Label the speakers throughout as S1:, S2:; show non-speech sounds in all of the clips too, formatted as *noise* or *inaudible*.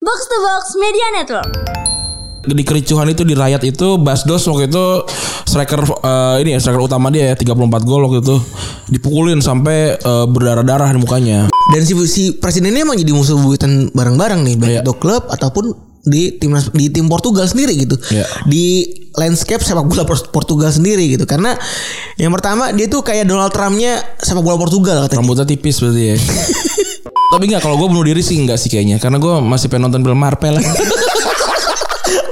S1: Box to Box Media Network.
S2: di kericuhan itu di riot itu Basdos waktu itu striker eh, ini ya striker utama dia ya 34 gol waktu itu dipukulin sampai eh, berdarah-darah di mukanya.
S3: Dan si, si presiden ini emang jadi musuh bubuyutan bareng-bareng nih baik
S2: Iya.
S3: itu klub ataupun di timnas di tim Portugal sendiri gitu.
S2: Iya.
S3: Di landscape sepak bola Port- Portugal sendiri gitu. Karena yang pertama dia tuh kayak Donald Trumpnya sepak bola Portugal katanya.
S2: Rambutnya tipis berarti *laughs* ya. Tapi enggak kalau gue bunuh diri sih enggak sih kayaknya karena gue masih pengen nonton film Marvel.
S3: *laughs*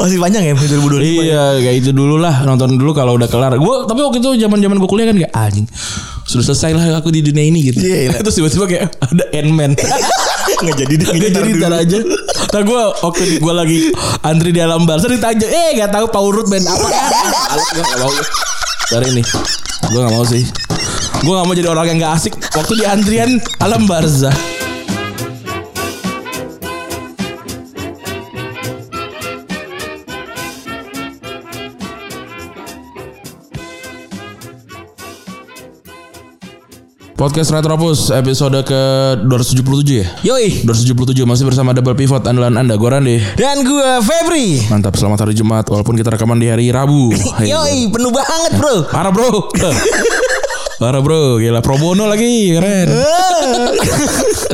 S3: Masih panjang ya 2025.
S2: *laughs* iya, kayak itu dulu lah nonton dulu kalau udah kelar. Gue tapi waktu itu zaman-zaman gue kuliah kan kayak anjing. Sudah selesai lah aku di dunia ini gitu.
S3: Iya, iya.
S2: *laughs* Terus tiba-tiba kayak ada *laughs* Ant-Man.
S3: Nggak jadi deh,
S2: Dia jadi ntar aja Ntar gue Waktu gue lagi Antri di alam barsa Ditanya Eh gak tahu Paul Rudd band apa ya?" *laughs* Gue gak mau Ntar ini Gue gak mau sih Gue gak mau jadi orang yang gak asik Waktu di antrian Alam barza Podcast Retropus episode ke 277 ya?
S3: Yoi.
S2: 277 masih bersama Double Pivot andalan Anda Goran deh.
S3: Dan gue Febri.
S2: Mantap selamat hari Jumat walaupun kita rekaman di hari *laughs* Rabu. Oh, Hai.
S3: Yoi, penuh banget,
S2: *laughs*
S3: Bro. *laughs*
S2: Parah bro. Parah bro, gila pro bono lagi, keren.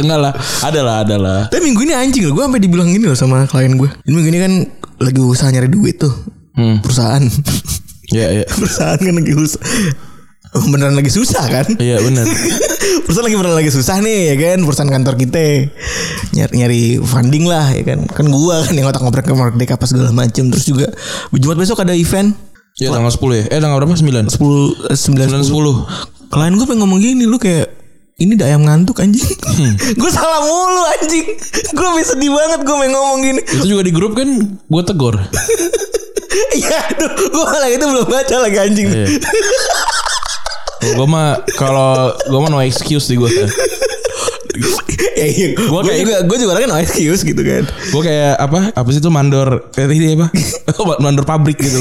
S2: Enggak lah, ada lah, ada lah.
S3: Tapi minggu ini anjing loh, gue sampai dibilang gini loh sama klien gue. Ini minggu ini kan lagi usaha nyari duit tuh.
S2: Hmm.
S3: Perusahaan. *laughs*
S2: Iya, iya.
S3: Perusahaan kan lagi usaha. Beneran lagi susah kan?
S2: Iya benar.
S3: perusahaan lagi beneran lagi susah nih ya kan perusahaan kantor kita nyari nyari funding lah ya kan kan gua kan yang otak ngobrol ke merdeka pas segala macem terus juga Jumat besok ada event
S2: Iya tanggal 10 ya. Eh tanggal berapa? 9. 10.
S3: 10 eh,
S2: 9 10.
S3: 9 10 klien gua pengen ngomong gini lu kayak ini dah ayam ngantuk anjing
S2: Hmm.
S3: *laughs* Gua salah mulu anjing Gua sampe sedih banget gua pengen ngomong gini
S2: *laughs*
S3: *laughs*
S2: Itu juga di grup kan gue tegor.
S3: Iya aduh Gue malah itu belum baca lagi anjing
S2: Iya. gue mah kalau gue mah no excuse di gue.
S3: *laughs* Ya iya
S2: Gua
S3: Gue
S2: kayak-
S3: juga Gue juga kan no excuse gitu kan
S2: Gue kayak apa? Apa sih itu mandor? Eh ini apa? *laughs* mandor pabrik gitu.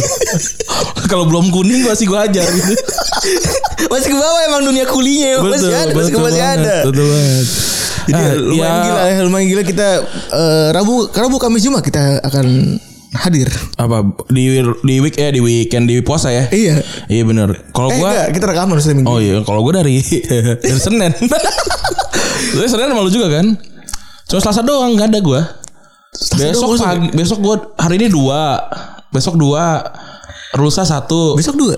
S2: *laughs* kalau belum kuning pasti gue ajar gitu.
S3: Masih ke bawah emang dunia kulinya *laughs* Masih ada Masih,
S2: betul
S3: masih
S2: banget,
S3: ada
S2: Betul banget.
S3: Jadi
S2: Ah,
S3: lumayan
S2: ya,
S3: gila ya, lumayan gila kita eh, Rabu Rabu Kamis Jumat kita akan hadir.
S2: apa di di week eh di weekend di puasa ya?
S3: Iya.
S2: Iya benar. Kalau
S3: Eh
S2: gua
S3: enggak, kita rekaman harusnya minggu.
S2: Oh iya, kalau gue dari *laughs* dari Senin. *laughs* Lu Senin malu juga kan? Cuma Selasa doang nggak ada gue. Besok
S3: doang, Selasa.
S2: pagi, besok gue hari ini dua, besok dua, Rusa satu,
S3: Besok dua.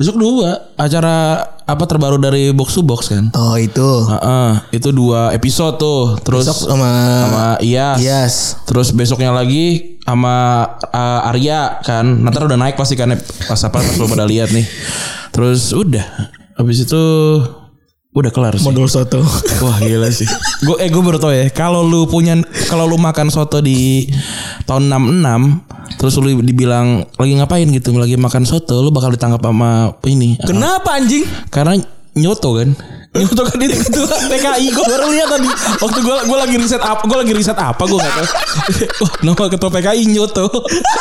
S2: besok dua acara apa terbaru dari box to box kan?
S3: Oh itu.
S2: Heeh, itu dua episode tuh. Terus
S3: Besok sama,
S2: sama Iyas.
S3: Iyas.
S2: Terus besoknya lagi sama uh, Arya kan. Nanti udah naik pasti kan pas apa pas lo pada lihat nih. Terus udah. Habis itu udah kelar sih.
S3: modul *laughs* soto.
S2: Wah gila *laughs* sih. Gue eh gue baru tau ya. Kalau lu punya kalau lu makan soto di tahun 66 terus lu dibilang lagi ngapain gitu, lagi makan soto, lu bakal ditangkap sama ini.
S3: Kenapa anjing?
S2: Karena nyoto kan Nyoto kan itu itu *laughs* TKI Gue baru lihat tadi Waktu gue gua lagi riset apa Gue lagi riset apa Gue gak tau *laughs* Wah nama ketua PKI nyoto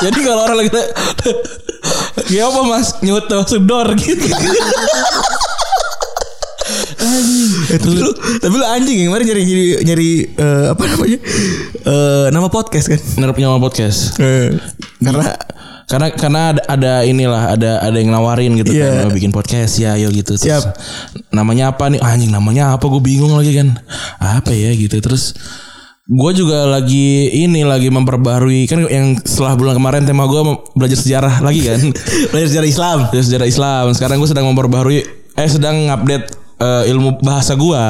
S2: Jadi kalau orang lagi *laughs* Ya apa mas Nyoto Sedor gitu
S3: Eh, tapi lu, tapi lu anjing yang kemarin nyari nyari, nyari eh, apa namanya? Eh, nama podcast kan.
S2: Nerap nyawa podcast
S3: Eh, karena
S2: karena karena ada, ada inilah ada ada yang nawarin gitu kan "Oh,
S3: Iya.
S2: bikin podcast ya ayo gitu terus
S3: Siap.
S2: namanya apa nih "Ah, anjing namanya apa gue bingung lagi kan apa ya gitu terus gue juga lagi ini lagi memperbarui kan yang setelah bulan kemarin tema gue belajar sejarah lagi
S3: *laughs*
S2: kan
S3: belajar sejarah Islam.
S2: belajar sejarah Islam sekarang gue sedang memperbarui eh sedang update eh, ilmu bahasa gue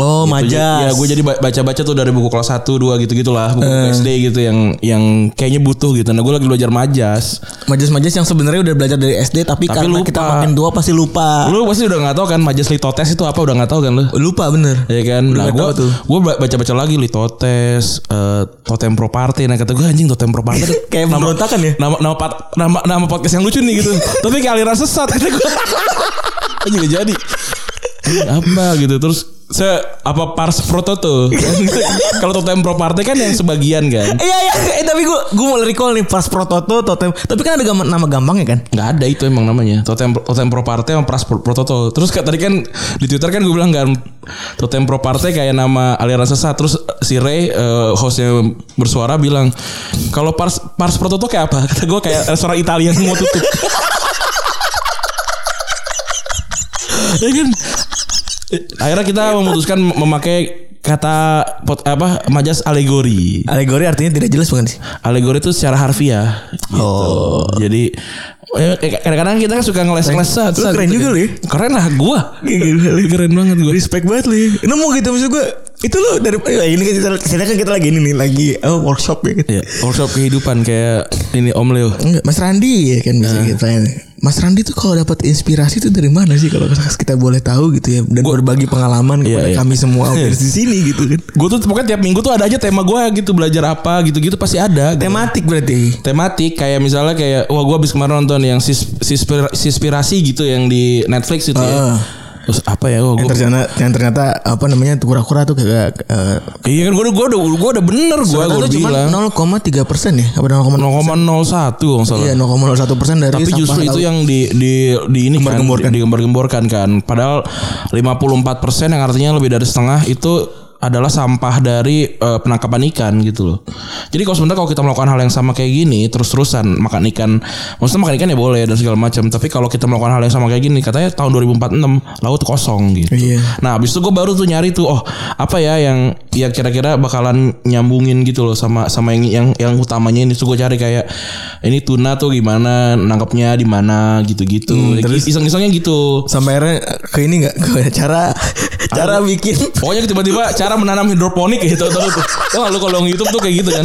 S3: Oh,
S2: Gitu,
S3: majas.
S2: jadi- Ya gue jadi ba- baca-baca tuh dari buku kelas 1, 2 gitu-gitulah. Buku
S3: Eh.
S2: SD gitu yang yang kayaknya butuh gitu. Nah gue lagi belajar majas.
S3: majas-majas yang sebenarnya udah belajar dari SD tapi,
S2: Tapi
S3: karena
S2: lupa.
S3: kita makin tua pasti lupa.
S2: Lu pasti udah gak tahu kan majas litotes itu apa udah gak tahu kan lu?
S3: Lupa bener.
S2: Ya kan? Nah
S3: nggak
S2: gue
S3: tahu tuh.
S2: gue ba- baca-baca lagi litotes, eh, totem pro party. Nah kata gue anjing totem pro party tuh
S3: *laughs* Kayak pemberontakan ya?
S2: Nama nama, pat- nama nama podcast yang lucu
S3: *laughs*
S2: nih gitu. Tapi kayak aliran sesat kata gue. Anjing nggak jadi. Anjing, apa gitu terus se apa pars pro
S3: *laughs*
S2: toto kalau totem pro partai kan yang sebagian kan
S3: Iya iya eh, tapi gue gue mau recall nih pas prototo totem tapi kan ada gam- nama gampangnya kan
S2: nggak ada itu emang namanya totem totem pro partai sama pars pro, pro toto terus kayak tadi kan di twitter kan gue bilang kan totem pro partai kayak nama aliran sesat terus si Ray eh, hostnya bersuara bilang kalau pars pars pro toto kayak apa *laughs* kata gue kayak eh, restoran Italia yang mau tutup *laughs* ya kan akhirnya kita memutuskan mem- memakai kata pot, apa majas alegori
S3: alegori artinya tidak jelas bukan sih
S2: alegori itu secara harfiah gitu.
S3: Oh.
S2: Jadi eh, kadang-kadang kita kan suka ngeles-ngeles sat,
S3: Lu
S2: sat,
S3: keren juga,
S2: gitu.
S3: Li.
S2: Keren lah gua.
S3: Gila,
S2: keren banget gua.
S3: respect banget li nemu gitu maksud gue itu lo dari eh, ini kan kita, kita kan kita lagi ini nih lagi oh, workshop ya gitu.
S2: Ya, workshop kehidupan kayak ini Om Leo.
S3: Enggak, Mas Randi ya kan bisa kita Mas Randi tuh kalau dapat inspirasi tuh dari mana sih kalau kita boleh tahu gitu ya dan berbagi pengalaman kepada
S2: Iya, iya.
S3: kami *laughs* semua audiens di sini gitu kan.
S2: Gua tuh pokoknya tiap minggu tuh ada aja tema gua gitu belajar apa gitu-gitu pasti ada. gitu.
S3: Tematik berarti.
S2: tematik kayak misalnya kayak wah gua habis kemarin nonton yang sis, sispir- sispirasi gitu yang di Netflix itu ya.
S3: Ah.
S2: Terus apa ya? Wah,
S3: Yang
S2: gua,
S3: ternyata yang ternyata apa namanya tuh kura-kura tuh kagak eh,
S2: iya kan gua udah gua udah gua udah bener gua
S3: ternyata
S2: gua
S3: tuh cuman
S2: bilang
S3: 0,3 persen ya apa
S2: 0,01
S3: 0,0
S2: kalau nggak salah.
S3: iya 0,01 persen dari
S2: Tapi
S3: sampah
S2: justru itu
S3: laut.
S2: yang di di di ini kan
S3: Gembar-gemborkan.
S2: digembar-gemborkan kan. Padahal 54% yang artinya lebih dari setengah itu adalah sampah dari eh, penangkapan ikan gitu loh. Jadi kalau sebenarnya kalau kita melakukan hal yang sama kayak gini terus-terusan makan ikan, maksudnya makan ikan ya boleh dan segala macam. Tapi kalau kita melakukan hal yang sama kayak gini, katanya tahun 2046 laut kosong gitu.
S3: Iya.
S2: Nah, abis itu gue baru tuh nyari tuh, oh apa ya yang ya kira-kira bakalan nyambungin gitu loh sama sama yang yang yang utamanya ini. Terus gue cari kayak ini tuna tuh gimana nangkapnya di mana gitu-gitu. Ya,
S3: Hmm, terus?
S2: Iseng-isengnya gitu.
S3: sampai akhirnya ke ini nggak ke
S2: *laughs*
S3: cara cara bikin *laughs*
S2: Pokoknya tiba-tiba cara menanam hidroponik gitu tau tuh. Wah, lu kalau YouTube tuh kayak gitu kan.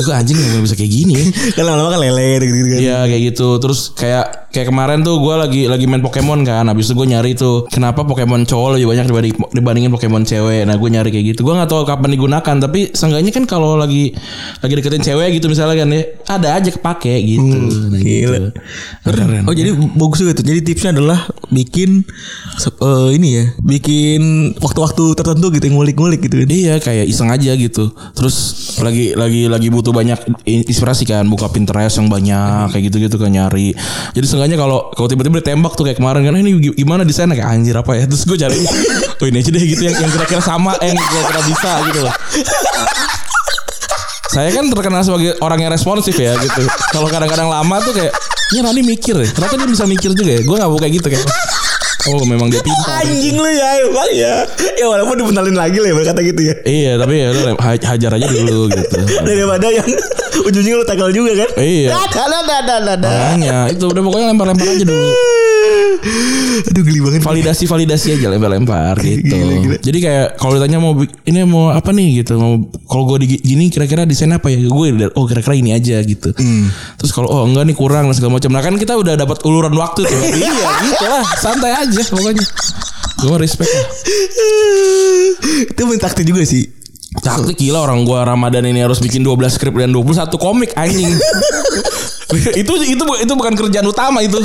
S2: Tuh gua anjing nggak bisa kayak gini. ya.
S3: kan lama-lama kan lele gitu, gitu, kan.
S2: Iya kayak gitu. Terus kayak kayak kemarin tuh gue lagi lagi main Pokemon kan. Habis itu gue nyari tuh kenapa Pokemon cowok lebih banyak dibanding, dibandingin Pokemon cewek. Nah gue nyari kayak gitu. Gue nggak tahu kapan digunakan. Tapi seenggaknya kan kalau lagi lagi deketin cewek gitu misalnya kan ya ada aja kepake gitu. Nah,
S3: gila.
S2: gitu. Keren.
S3: Oh jadi bagus juga tuh. Jadi tipsnya adalah bikin se- eh, ini ya, bikin waktu-waktu tertentu gitu ngulik-ngulik gitu. kan.
S2: Iya kayak iseng aja gitu. Terus lagi lagi lagi butuh banyak in- inspirasi kan, buka Pinterest yang banyak kayak gitu-gitu kan nyari. Jadi seenggaknya kalau kalau tiba-tiba ditembak tuh kayak kemarin kan "Eh, ini gi- gimana desainnya kayak anjir apa ya. Terus gue cari *laughs* tuh ini aja deh gitu yang yang kira-kira sama eh, yang kira-kira bisa gitu loh. Saya kan terkenal sebagai orang yang responsif ya gitu. Kalau kadang-kadang lama tuh kayak Ya Rani mikir ya Ternyata dia bisa mikir juga ya Gue gak mau kayak gitu kayak Oh memang dia pintar
S3: Anjing lu ya emang ya. Ya walaupun dibentalin lagi lah ya berkata gitu ya.
S2: Iya tapi ya udah, ha- hajar aja dulu gitu
S3: Daripada yang *laughs* ujungnya lu tackle juga kan.
S2: Iya. Nah.
S3: Dadah dadah dadah dadah.
S2: Makanya itu udah pokoknya lempar-lempar aja dulu.
S3: Aduh geli banget.
S2: Validasi validasi aja lempar-lempar gitu.
S3: *laughs* Gila, gila.
S2: Jadi kayak kalau ditanya mau bik- ini mau apa nih gitu, mau kalau gue di gini kira-kira desain apa ya? Gue udah, oh kira-kira ini aja gitu.
S3: Hmm.
S2: Terus kalau oh enggak nih kurang dan segala macam. Nah kan kita udah dapat uluran waktu tuh.
S3: *laughs*
S2: iya gitu lah, santai aja pokoknya. Gue respect. lah.
S3: Itu main taktik juga sih.
S2: Taktik gila orang gua Ramadan ini harus bikin 12 skrip dan 21 komik anjing. *laughs* itu itu bu- itu bukan kerjaan utama itu.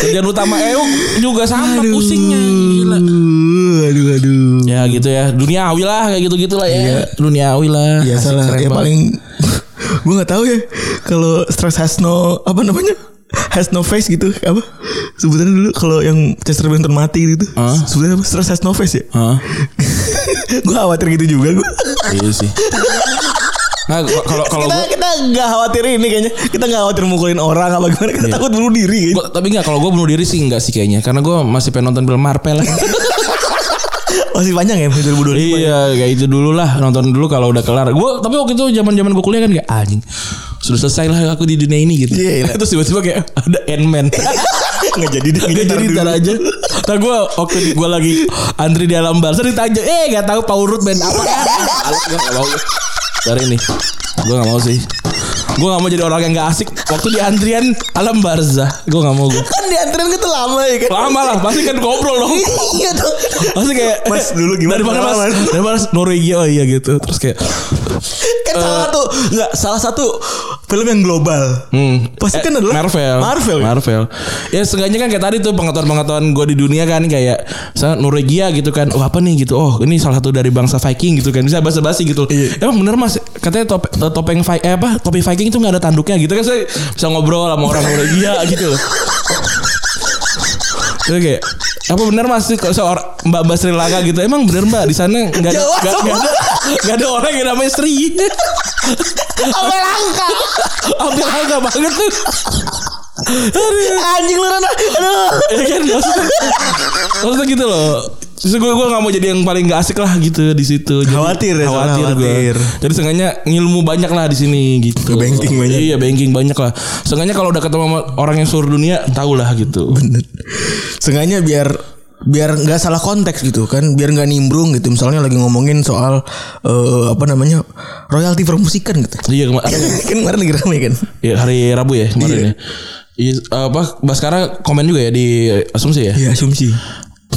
S2: Kerjaan utama Euk juga sama pusingnya gila.
S3: Uh, aduh aduh.
S2: Ya gitu ya. Duniawi lah kayak gitu-gitu lah ya. Duniawi lah.
S3: Ya
S2: Asik,
S3: Iya. salah
S2: keren
S3: ya
S2: banget.
S3: paling *laughs* gue nggak tahu ya kalau stress has no apa namanya has no face gitu apa sebutannya dulu kalau yang Chester Bennington mati gitu
S2: Hah?
S3: sebutannya apa stress has no face *laughs* ya
S2: Hah?
S3: gue khawatir gitu juga gue
S2: Iya sih. Nah, kalau kalau
S3: kita
S2: gua
S3: kita nggak khawatir ini kayaknya kita nggak khawatir mukulin orang apa gimana kita
S2: Iya.
S3: takut bunuh diri gitu
S2: gua- tapi nggak kalau gue bunuh diri sih nggak sih kayaknya karena gue masih pengen nonton film Marvel
S3: masih panjang ya 2025
S2: Iya kayak itu dulu lah nonton dulu kalau udah kelar. Gue tapi waktu itu zaman zaman gue kuliah kan kayak anjing sudah selesai lah aku di dunia ini gitu.
S3: Iya, iya.
S2: *laughs* Terus tiba-tiba kayak ada
S3: *laughs*
S2: Ant-Man.
S3: nggak jadi deh
S2: Dia Iya. jadi ntar aja. Ntar gue waktu gue lagi antri di alam barsa ditanya, eh gak tahu Power Root band apa? ya?"
S3: *laughs*
S2: Alas gue gak mau. Ntar ini gue gak mau sih. Gue gak mau jadi orang yang gak asik waktu di antrian alam barza. Gue gak mau gue.
S3: kan diantarin gitu lama ya
S2: *laughs*
S3: kan
S2: Lama lah pasti kan ngobrol
S3: *laughs*
S2: dong.
S3: iya tuh
S2: Pasti kayak
S3: Mas, dulu gimana
S2: Dari mana mas?
S3: pengalaman?
S2: Dari mana mas? Norwegia oh iya gitu Terus kayak
S3: kan kan salah satu nggak salah satu film yang global. Pasti kan adalah
S2: Hmm. Eh, Marvel.
S3: Marvel. ya?
S2: Marvel. Ya seenggaknya kan kayak tadi tuh pengetahuan-pengetahuan gue di dunia kan kayak misalnya Norwegia gitu kan. Oh apa nih gitu. Oh ini salah satu dari bangsa Viking gitu kan. Bisa basa-basi gitu.
S3: Iya.
S2: Emang bener mas katanya top, topeng Vi- eh, apa topi Viking itu nggak ada tanduknya gitu kan saya bisa ngobrol sama orang Norwegia *laughs* gitu loh. Terus kayak apa bener mas sih kalau soal or- mbak mbak Sri Lanka gitu emang bener mbak di sana nggak ada
S3: Jawa
S2: nggak
S3: semua.
S2: nggak ada nggak ada orang yang namanya Sri *laughs*
S3: Apa langka?
S2: ambil harga banget tuh
S3: Anjing lu Rana. Aduh.
S2: ya kan maksudnya, maksudnya gitu loh Terus gue gue gak mau jadi yang paling gak asik lah gitu di situ. Jadi,
S3: Khawatir ya, soalnya
S2: khawatir,
S3: khawatir.
S2: gue. Jadi seenggaknya ngilmu banyak lah di sini gitu.
S3: Banking banyak.
S2: Iya banking banyak lah. Seenggaknya kalau udah ketemu sama orang yang seluruh dunia tau lah gitu.
S3: Bener. Sengaja biar biar nggak salah konteks gitu kan biar nggak nimbrung gitu misalnya lagi ngomongin soal eh, apa namanya royalti permusikan gitu *laughs*
S2: Iya kemarin.
S3: kan kemarin lagi rame kan
S2: Iya hari Rabu ya kemarin ya. Iya apa Baskara komen juga ya di asumsi ya.
S3: ya asumsi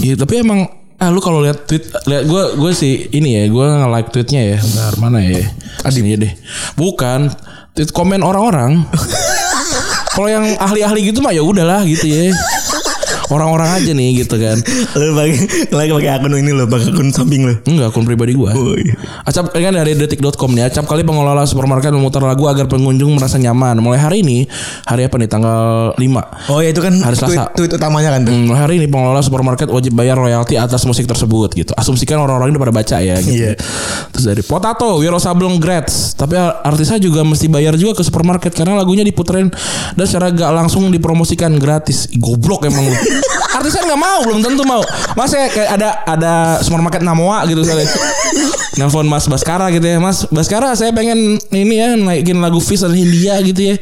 S2: Iya tapi emang ah lu kalau lihat tweet lihat gue gue sih ini ya gue nge like tweetnya ya bentar mana ya Sini aja deh bukan tweet komen orang-orang kalau yang ahli-ahli gitu mah ya udahlah gitu ya orang-orang aja nih gitu kan
S3: *laughs* lo pakai lagi pakai akun ini lo pakai akun samping lo
S2: enggak akun pribadi gue Acap ini kan dari detik.com nih. Acap kali pengelola supermarket memutar lagu agar pengunjung merasa nyaman. Mulai hari ini, hari apa nih? Tanggal 5.
S3: oh ya itu kan
S2: Hari
S3: tweet,
S2: Selasa.
S3: tweet utamanya kan tuh.
S2: Hmm, hari ini pengelola supermarket wajib bayar royalti atas musik tersebut gitu. Asumsikan orang-orang ini udah pada baca ya gitu.
S3: Iya.
S2: Terus dari Potato, Wiro Sableng Grats. Tapi artisnya juga mesti bayar juga ke supermarket karena lagunya diputerin dan secara gak langsung dipromosikan gratis. Ih, Goblok emang
S3: *laughs*
S2: lu. Artisnya nggak mau, belum tentu mau. Mas ya kayak ada ada supermarket Namoa gitu
S3: *laughs*
S2: misalnya. Nelfon Mas Baskara gitu ya. Mas Baskara saya pengen ini ya naikin lagu Fish dan Hindia gitu ya.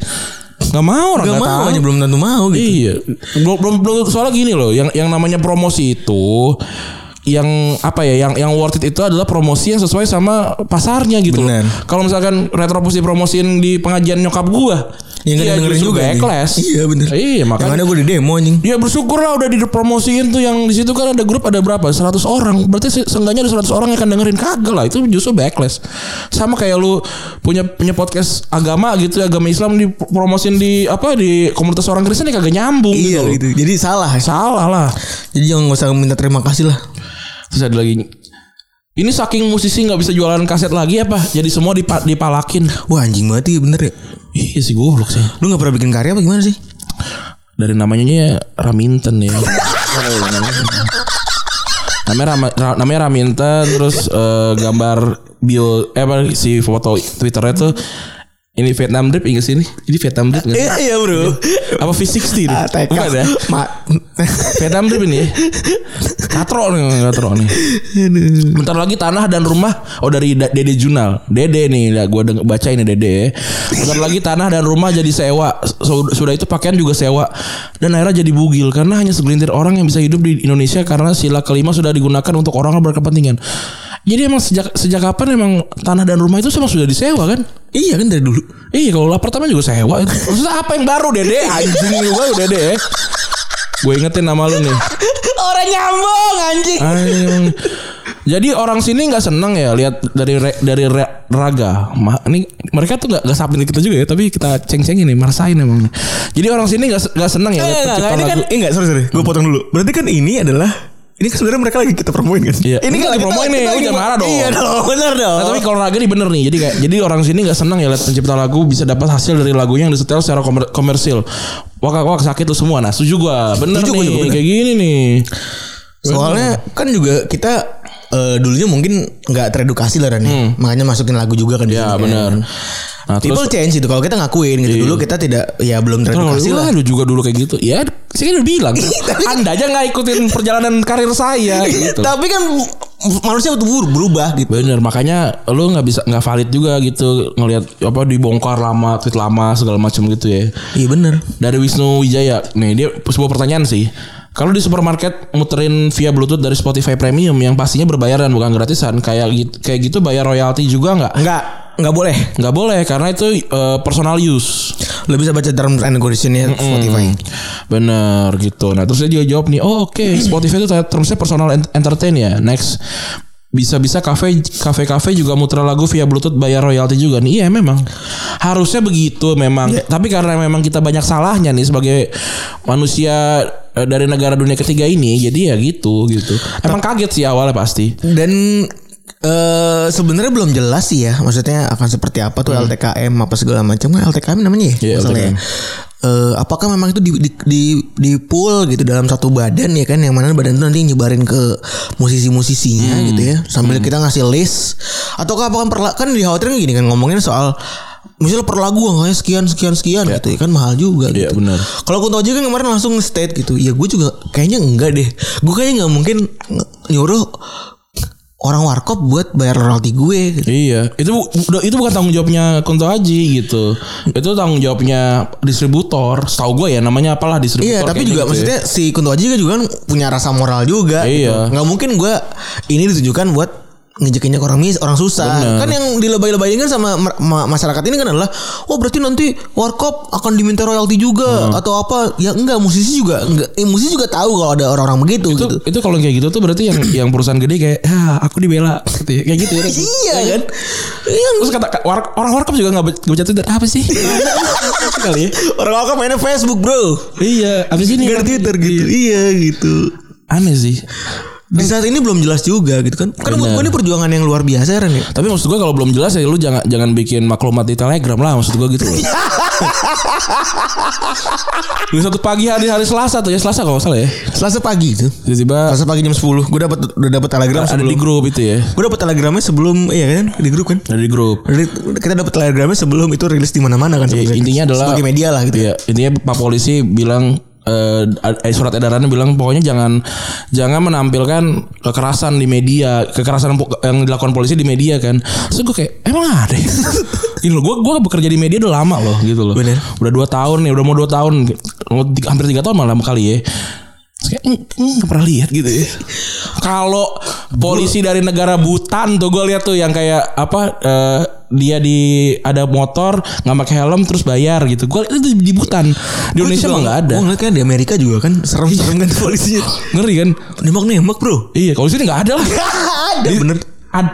S2: Gak mau orang
S3: Gak
S2: gak,
S3: mau
S2: tahu.
S3: aja belum tentu mau gitu
S2: Iya. Belum, belum, belum soalnya gini loh, yang yang namanya promosi itu yang apa ya yang yang worth it itu adalah promosi yang sesuai sama pasarnya gitu. loh.
S3: Bener.
S2: Kalau misalkan retropusi promosiin di pengajian nyokap gua,
S3: Iya, Yang gak
S2: dia
S3: dengerin
S2: justru
S3: juga nih.
S2: backlash.
S3: Iya bener
S2: Iya,
S3: Yang
S2: makanya
S3: ada gue di demo anjing
S2: Ya bersyukur lah udah dipromosiin tuh yang di situ kan ada grup ada berapa? 100 orang. Berarti se- seenggaknya ada 100 orang yang akan dengerin kagak lah. Itu justru backlash. Sama kayak lu punya punya podcast agama gitu, agama Islam dipromosiin di apa di komunitas orang Kristen ya kagak nyambung gitu.
S3: Iya
S2: loh.
S3: gitu Jadi salah
S2: Salah lah.
S3: Jadi jangan gak usah minta terima kasih lah
S2: Terus ada lagi ini saking musisi nggak bisa jualan kaset lagi apa? Jadi semua dipa- dipalakin.
S3: Wah anjing banget ya bener ya
S2: Iya sih goblok sih.
S3: Lu gak pernah bikin karya apa gimana sih?
S2: Dari namanya aja Raminten ya. namanya Rama, Ra- namanya Raminten terus eh, gambar bio eh apa si foto Twitternya tuh ini Vietnam drip ingat sini. Ini Vietnam drip nggak sih?
S3: iya bro
S2: Apa V60 nih?
S3: Ah, TK.
S2: Bukan ya?
S3: Ma- *laughs*
S2: Vietnam drip ini. ya? Katro nih, katro nih. Bentar lagi tanah dan rumah oh dari Da- Dede Junal. Dede nih, ya gua deng- baca ini Dede. Bentar lagi tanah dan rumah jadi sewa. So- Sudah itu pakaian juga sewa. Dan akhirnya jadi bugil karena hanya segelintir orang yang bisa hidup di Indonesia karena sila kelima sudah digunakan untuk orang yang berkepentingan. Jadi emang sejak sejak kapan emang tanah dan rumah itu semua sudah disewa kan?
S3: Iya kan dari dulu
S2: Iya kalau apartemen juga sewa itu. Maksudnya apa yang baru Dede? Anjing lu baru Dede. Gue ingetin nama lu nih.
S3: *laughs* Orang nyambung anjing
S2: Anjing. Jadi orang sini nggak seneng ya lihat dari re- dari re- raga. Ma, ini mereka tuh nggak nggak sapin kita juga ya, tapi kita ceng-cengin nih, marasain emang. Jadi orang sini nggak se- nggak seneng ya.
S3: Enggak
S2: lihat
S3: enggak
S2: pencipta
S3: Ini kan
S2: lagu.
S3: eh, Enggak sorry sorry Gue potong dulu Berarti kan ini adalah Ini kan sebenarnya mereka lagi kita promoin kan
S2: Iya.
S3: Ini
S2: Ini
S3: kan
S2: lagi promoin nih, lu jangan marah dong.
S3: Iya dong bener dong
S2: Nah, tapi kalau raga nih bener nih. Jadi kayak jadi orang sini nggak senang ya lihat pencipta lagu bisa dapat hasil dari lagunya yang disetel secara komer- komersil. Wak wak sakit lu semua. Nah, setuju gua. Bener
S3: Setuju gua
S2: nih
S3: juga, bener.
S2: kayak gini nih.
S3: Soalnya kan juga kita eh, dulunya mungkin nggak teredukasi lah Ran, ya. Makanya masukin lagu juga kan.
S2: Hmm.
S3: di
S2: Ya,
S3: sini, kan.
S2: bener. Nah, terus Iya.
S3: People change itu kalau kita ngakuin gitu dulu kita tidak ya belum
S2: Kalau
S3: teredukasi lah. Iya,
S2: lu juga dulu kayak gitu. Ya, saya kan udah
S3: *laughs*
S2: bilang. Anda aja nggak ikutin perjalanan karir saya gitu.
S3: *laughs* Tapi kan manusia butuh berubah gitu.
S2: Bener makanya lu nggak bisa nggak valid juga gitu ngelihat apa dibongkar lama tweet lama segala macam gitu ya.
S3: Iya bener.
S2: Dari Wisnu Wijaya nih dia sebuah pertanyaan sih. Kalau di supermarket muterin via Bluetooth dari Spotify Premium yang pastinya berbayar dan bukan gratisan kayak gitu, kayak gitu bayar royalti juga nggak?
S3: Enggak, enggak boleh.
S2: Nggak boleh karena itu eh, personal use.
S3: Lo bisa baca terms and conditionnya Spotify.
S2: Bener gitu. Nah terus dia juga jawab nih, oh oke Spotify itu terusnya personal ent- entertain ya. Next bisa-bisa kafe kafe kafe juga muter lagu via bluetooth bayar royalti juga nih iya memang harusnya begitu memang tapi karena memang kita banyak salahnya nih sebagai manusia eh, dari negara dunia ketiga ini jadi ya gitu gitu emang kaget sih awalnya pasti
S3: Dan eh sebenarnya belum jelas sih ya, maksudnya akan seperti apa tuh LTKM apa segala macam kan LTKM namanya
S2: Hmm. Iya,
S3: ya, masalahnya.
S2: LTKM.
S3: Eh, apakah memang itu di di di, di pool gitu dalam satu badan ya kan yang mana badan itu nanti nyebarin ke musisi-musisinya
S2: Hmm.
S3: gitu ya sambil kita ngasih list ataukah apakah perla kan dikhawatirkan gini kan ngomongin soal misalnya per lagu angkanya sekian sekian sekian gitu ya kan mahal juga
S2: Iya,
S3: gitu.
S2: benar.
S3: Kalau Kunto Aji kan kemarin langsung state gitu. Ya gue juga kayaknya enggak deh. Gue kayaknya nggak mungkin nge- nyuruh orang warkop buat bayar royalti gue. Gitu.
S2: Iya, itu bu- itu bukan tanggung jawabnya Kunto Aji gitu. Itu tanggung jawabnya distributor. Setahu gue ya namanya apalah distributor.
S3: Iya, tapi
S2: kayaknya gitu
S3: juga
S2: ya.
S3: maksudnya si Kunto Aji juga kan punya rasa moral juga.
S2: Iya.
S3: Gitu. Nggak mungkin gue ini ditujukan buat ngejekinnya ke orang mis, orang susah. Kan yang dilebay-lebayin kan sama mer- ma- masyarakat ini kan adalah, oh berarti nanti warkop akan diminta royalti juga atau apa? Ya enggak, musisi juga enggak. Eh, musisi juga tahu kalau ada orang-orang begitu
S2: itu
S3: gitu.
S2: itu kalau kayak gitu tuh berarti yang yang perusahaan gede kayak ah aku dibela gitu ya. kayak gitu ya.
S3: Iya kan? Iya
S2: Terus kata war- orang warkop juga nggak be- nggak bercanda "Dan apa sih? *laughs* Kali ya.
S3: Orang awam mainnya Facebook bro
S2: Iya, abis ini
S3: Gak ada Twitter gitu Iya gitu
S2: Aneh sih.
S3: Di saat ini belum jelas juga gitu kan Kan buat
S2: Benar.
S3: gue ini perjuangan yang luar biasa Ren ya
S2: Tapi maksud gue kalau belum jelas ya lu jangan jangan bikin maklumat di Telegram lah maksud gue *laughs* gitu loh. Di satu pagi hari hari Selasa tuh ya Selasa kalau nggak salah ya.
S3: Selasa pagi itu
S2: Tiba-tiba
S3: Selasa pagi jam 10 Gue dapat udah dapat telegram
S2: ada di
S3: sebelum
S2: grup itu ya.
S3: Gue dapat telegramnya sebelum Iya kan di grup kan
S2: Ada di grup.
S3: Jadi Kita dapat telegramnya sebelum itu rilis di mana mana kan sebenarnya.
S2: intinya adalah-
S3: Sebagai media lah gitu
S2: Iya, intinya Pak Polisi bilang eh ad- eh, surat edarannya bilang pokoknya jangan jangan menampilkan kekerasan di media, kekerasan po- yang dilakukan polisi di media kan. Terus gue kayak emang ada. *laughs* ya?" Ini loh, gue gue bekerja di media udah lama loh gitu loh.
S3: Bener.
S2: Udah dua tahun nih, udah mau dua tahun, Mau tiga- hampir tiga tahun malah kali ya. Terus kayak "Eng, eng, nggak pernah lihat gitu ya. Kalau polisi dari negara Butan tuh gue lihat tuh yang kayak apa eh, dia di ada motor nggak pakai helm terus bayar gitu. Gue itu di Butan. Di Indonesia mah nggak ada.
S3: Gue ngeliat kan di Amerika juga kan Serem-serem kan polisinya
S2: Ngeri kan?
S3: Nembak-nembak bro
S2: Iya, kalau di sini nggak ada lah.
S3: Ada bener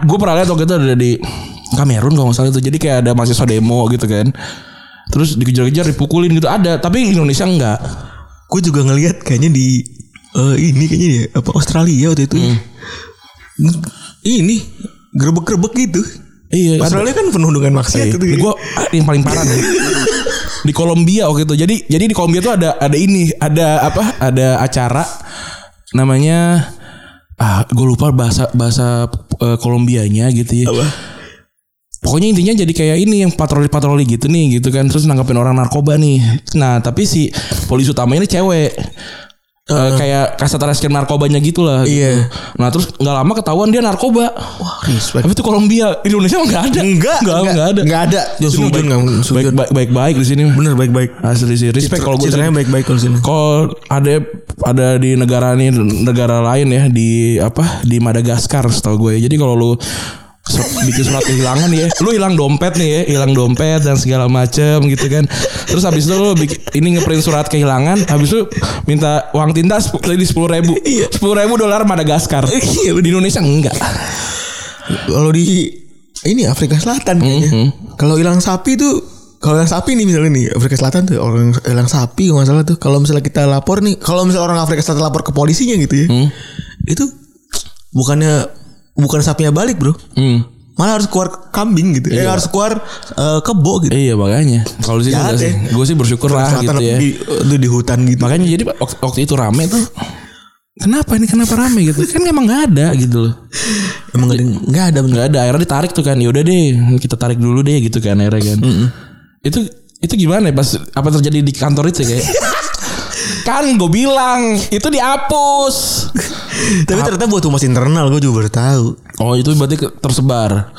S2: gue pernah lihat waktu itu ada di Kamerun kalau nggak salah itu. Jadi kayak ada mahasiswa demo gitu kan. Terus dikejar-kejar dipukulin gitu ada, tapi Indonesia enggak.
S3: gue juga ngelihat kayaknya di eh, ini kayaknya di apa Australia waktu itu ya. Nge- ini gerbek-gerbek gitu
S2: Iya, ada.
S3: Australia kan penuh dengan maksiat gitu
S2: Di gua ah, yang paling parah nih. di Kolombia waktu itu. Jadi jadi di Kolombia tuh ada ada ini, ada apa? Ada acara namanya ah gue lupa bahasa bahasa eh, Kolombianya gitu ya.
S3: Apa?
S2: Pokoknya intinya jadi kayak ini yang patroli-patroli gitu nih gitu kan terus nangkepin orang narkoba nih. Nah, tapi si polisi utama ini cewek. Eh, kayak kasat reskrim narkobanya gitu lah. gitu.
S3: Iya.
S2: Nah, terus nggak lama ketahuan dia narkoba.
S3: wah respect
S2: Tapi itu Kolombia, Indonesia mah nggak ada.
S3: enggak
S2: nggak nggak ada.
S3: enggak ada
S2: Sini
S3: Jun Sujun
S2: baik-
S3: nggak
S2: baik,
S3: Sujun
S2: baik baik baik di sini
S3: bener baik-baik
S2: asli sih respect kalau gue
S3: citranya baik-baik kalau sini
S2: kalau ada ada di negara ini negara lain ya di apa di Madagaskar setahu gue jadi kalau lu sur- bikin surat kehilangan ya lu hilang dompet nih ya hilang dompet dan segala macem gitu kan terus habis itu lu bikin, ini ngeprint surat kehilangan habis itu minta uang tinta sep- jadi sepuluh ribu sepuluh ribu dolar Madagaskar
S3: Iya,
S2: di Indonesia enggak
S3: kalau di ini Afrika Selatan kayaknya
S2: Mhm.
S3: kalau hilang sapi tuh kalau hilang sapi nih misalnya nih Afrika Selatan tuh orang hilang sapi kalau nggak salah tuh kalau misalnya kita lapor nih kalau misalnya orang Afrika Selatan lapor ke polisinya gitu ya
S2: Mhm.
S3: itu bukannya bukan sapinya balik bro
S2: hmm.
S3: malah harus keluar kambing gitu eh, harus keluar eh, kebo gitu
S2: iya makanya kalau di sini
S3: Jahat
S2: enggak
S3: ya.
S2: sih gue sih bersyukur lah
S3: Selatan
S2: gitu ya
S3: di, itu di hutan gitu
S2: Makanya jadi waktu, waktu itu rame tuh. Kenapa ini kenapa rame gitu? Kan emang nggak ada gitu loh.
S3: emang nggak ada
S2: Nggak ada, nggak ada. Akhirnya ditarik tuh kan. Yaudah deh, kita tarik dulu deh gitu kan akhirnya kan. Itu itu gimana ya pas apa terjadi di kantor itu ya kayak kan gue bilang itu dihapus.
S3: tapi ternyata buat humas internal gue juga baru tahu
S2: Oh itu berarti ke- tersebar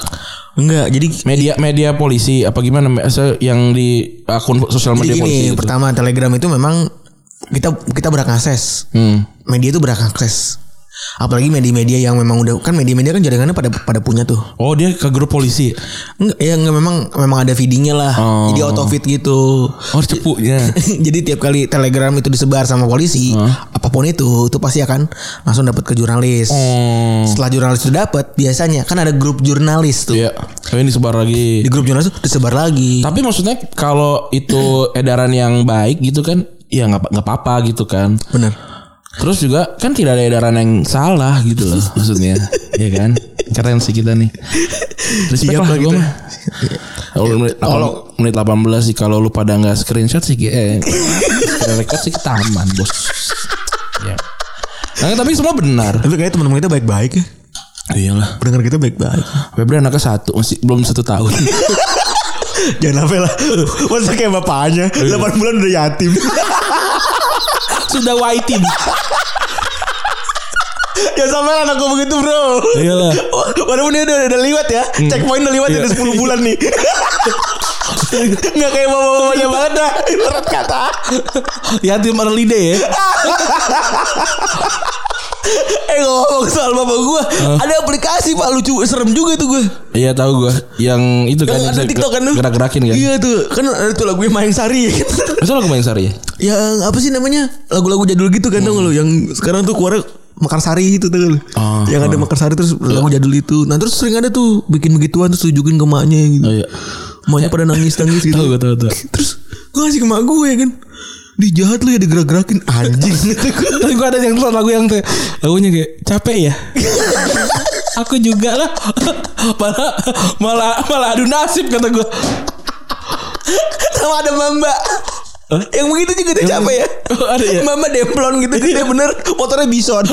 S3: enggak jadi
S2: media media polisi apa gimana Me- se- yang di akun sosial
S3: jadi
S2: media
S3: gini
S2: polisi gitu.
S3: pertama telegram itu memang kita kita berakses
S2: Hmm.
S3: media itu berakses Apalagi media-media yang memang udah kan media-media kan jaringannya pada pada punya tuh.
S2: Oh dia ke grup polisi.
S3: Enggak, ya enggak memang memang ada feedingnya lah.
S2: Oh.
S3: Jadi auto feed gitu. *laughs*
S2: Oh cepu ya.
S3: Jadi tiap kali telegram itu disebar sama polisi, apapun itu, itu pasti akan langsung dapat ke jurnalis.
S2: Oh.
S3: Setelah jurnalis itu dapat, biasanya kan ada grup jurnalis tuh.
S2: Iya. Kayaknya disebar lagi.
S3: Di grup jurnalis itu disebar lagi.
S2: Tapi maksudnya kalau itu edaran yang baik gitu kan, ya nggak nggak apa-apa gitu kan.
S3: Bener.
S2: Terus juga kan tidak ada edaran yang salah gitu loh maksudnya, ya kan? Keren sih kita nih. Respect lah
S3: Siap lah
S2: gue
S3: gitu.
S2: mah. Kalau menit, Iya, kalau menit 18 sih kalau lu pada nggak screenshot sih eh kita record sih ke taman, Bos. Ya. Nah, tapi semua benar.
S3: Tapi kayaknya teman-teman kita baik-baik ya.
S2: Iyalah.
S3: Pendengar kita baik-baik.
S2: Febri anaknya satu masih belum satu tahun.
S3: Jangan apa lah. Masa kayak bapaknya
S2: Iya.
S3: 8 bulan udah
S2: *laughs*
S3: yatim.
S2: *laughs* Sudah waiting.
S3: ya sampai lah anak gue begitu bro.
S2: Iyalah.
S3: Walaupun dia udah, udah lewat ya.
S2: Hmm.
S3: Checkpoint udah lewat
S2: Iya.
S3: ya, udah 10 bulan
S2: *laughs*
S3: nih. Nggak kayak bapak-bapaknya banget dah. Menurut kata.
S2: Yatim early day ya.
S3: Eh ngomong soal bapak gue. Ada aplikasi pak lucu. Serem juga tuh gue.
S2: Iya tahu gua Yang itu kan
S3: Yang ada TikTok kan lu.
S2: gerak-gerakin kan.
S3: Iya tuh. Kan ada tuh lagunya Maeng Sari. *laughs*
S2: Masa lagu main sari ya?
S3: yang apa sih namanya? Lagu-lagu jadul gitu kan tau nggak lu. Yang sekarang tuh keluar Mekar Sari itu tuh
S2: Ah, Iya.
S3: Yang ada Mekar Sari terus lagu jadul itu Nah terus sering ada tuh Bikin begituan terus tunjukin ke emaknya gitu
S2: Oh iya.
S3: Emaknya pada nangis-nangis gitu
S2: Tahu gua tahu tahu.
S3: Terus gue ngasih ke mak gue ya kan Di jahat lu ya digerak-gerakin
S2: *laughs*
S3: Anjing
S2: Gitu Tapi gue ada yang satu lagu yang tuh, lagunya kayak capek
S3: *laughs*
S2: ya. Aku juga lah. malah malah malah adu nasib kata gue.
S3: Sama ada mamba Yang begitu juga dia capek ya
S2: Oh, ada ya?
S3: Mamba demplon gitu Dia bener motornya bison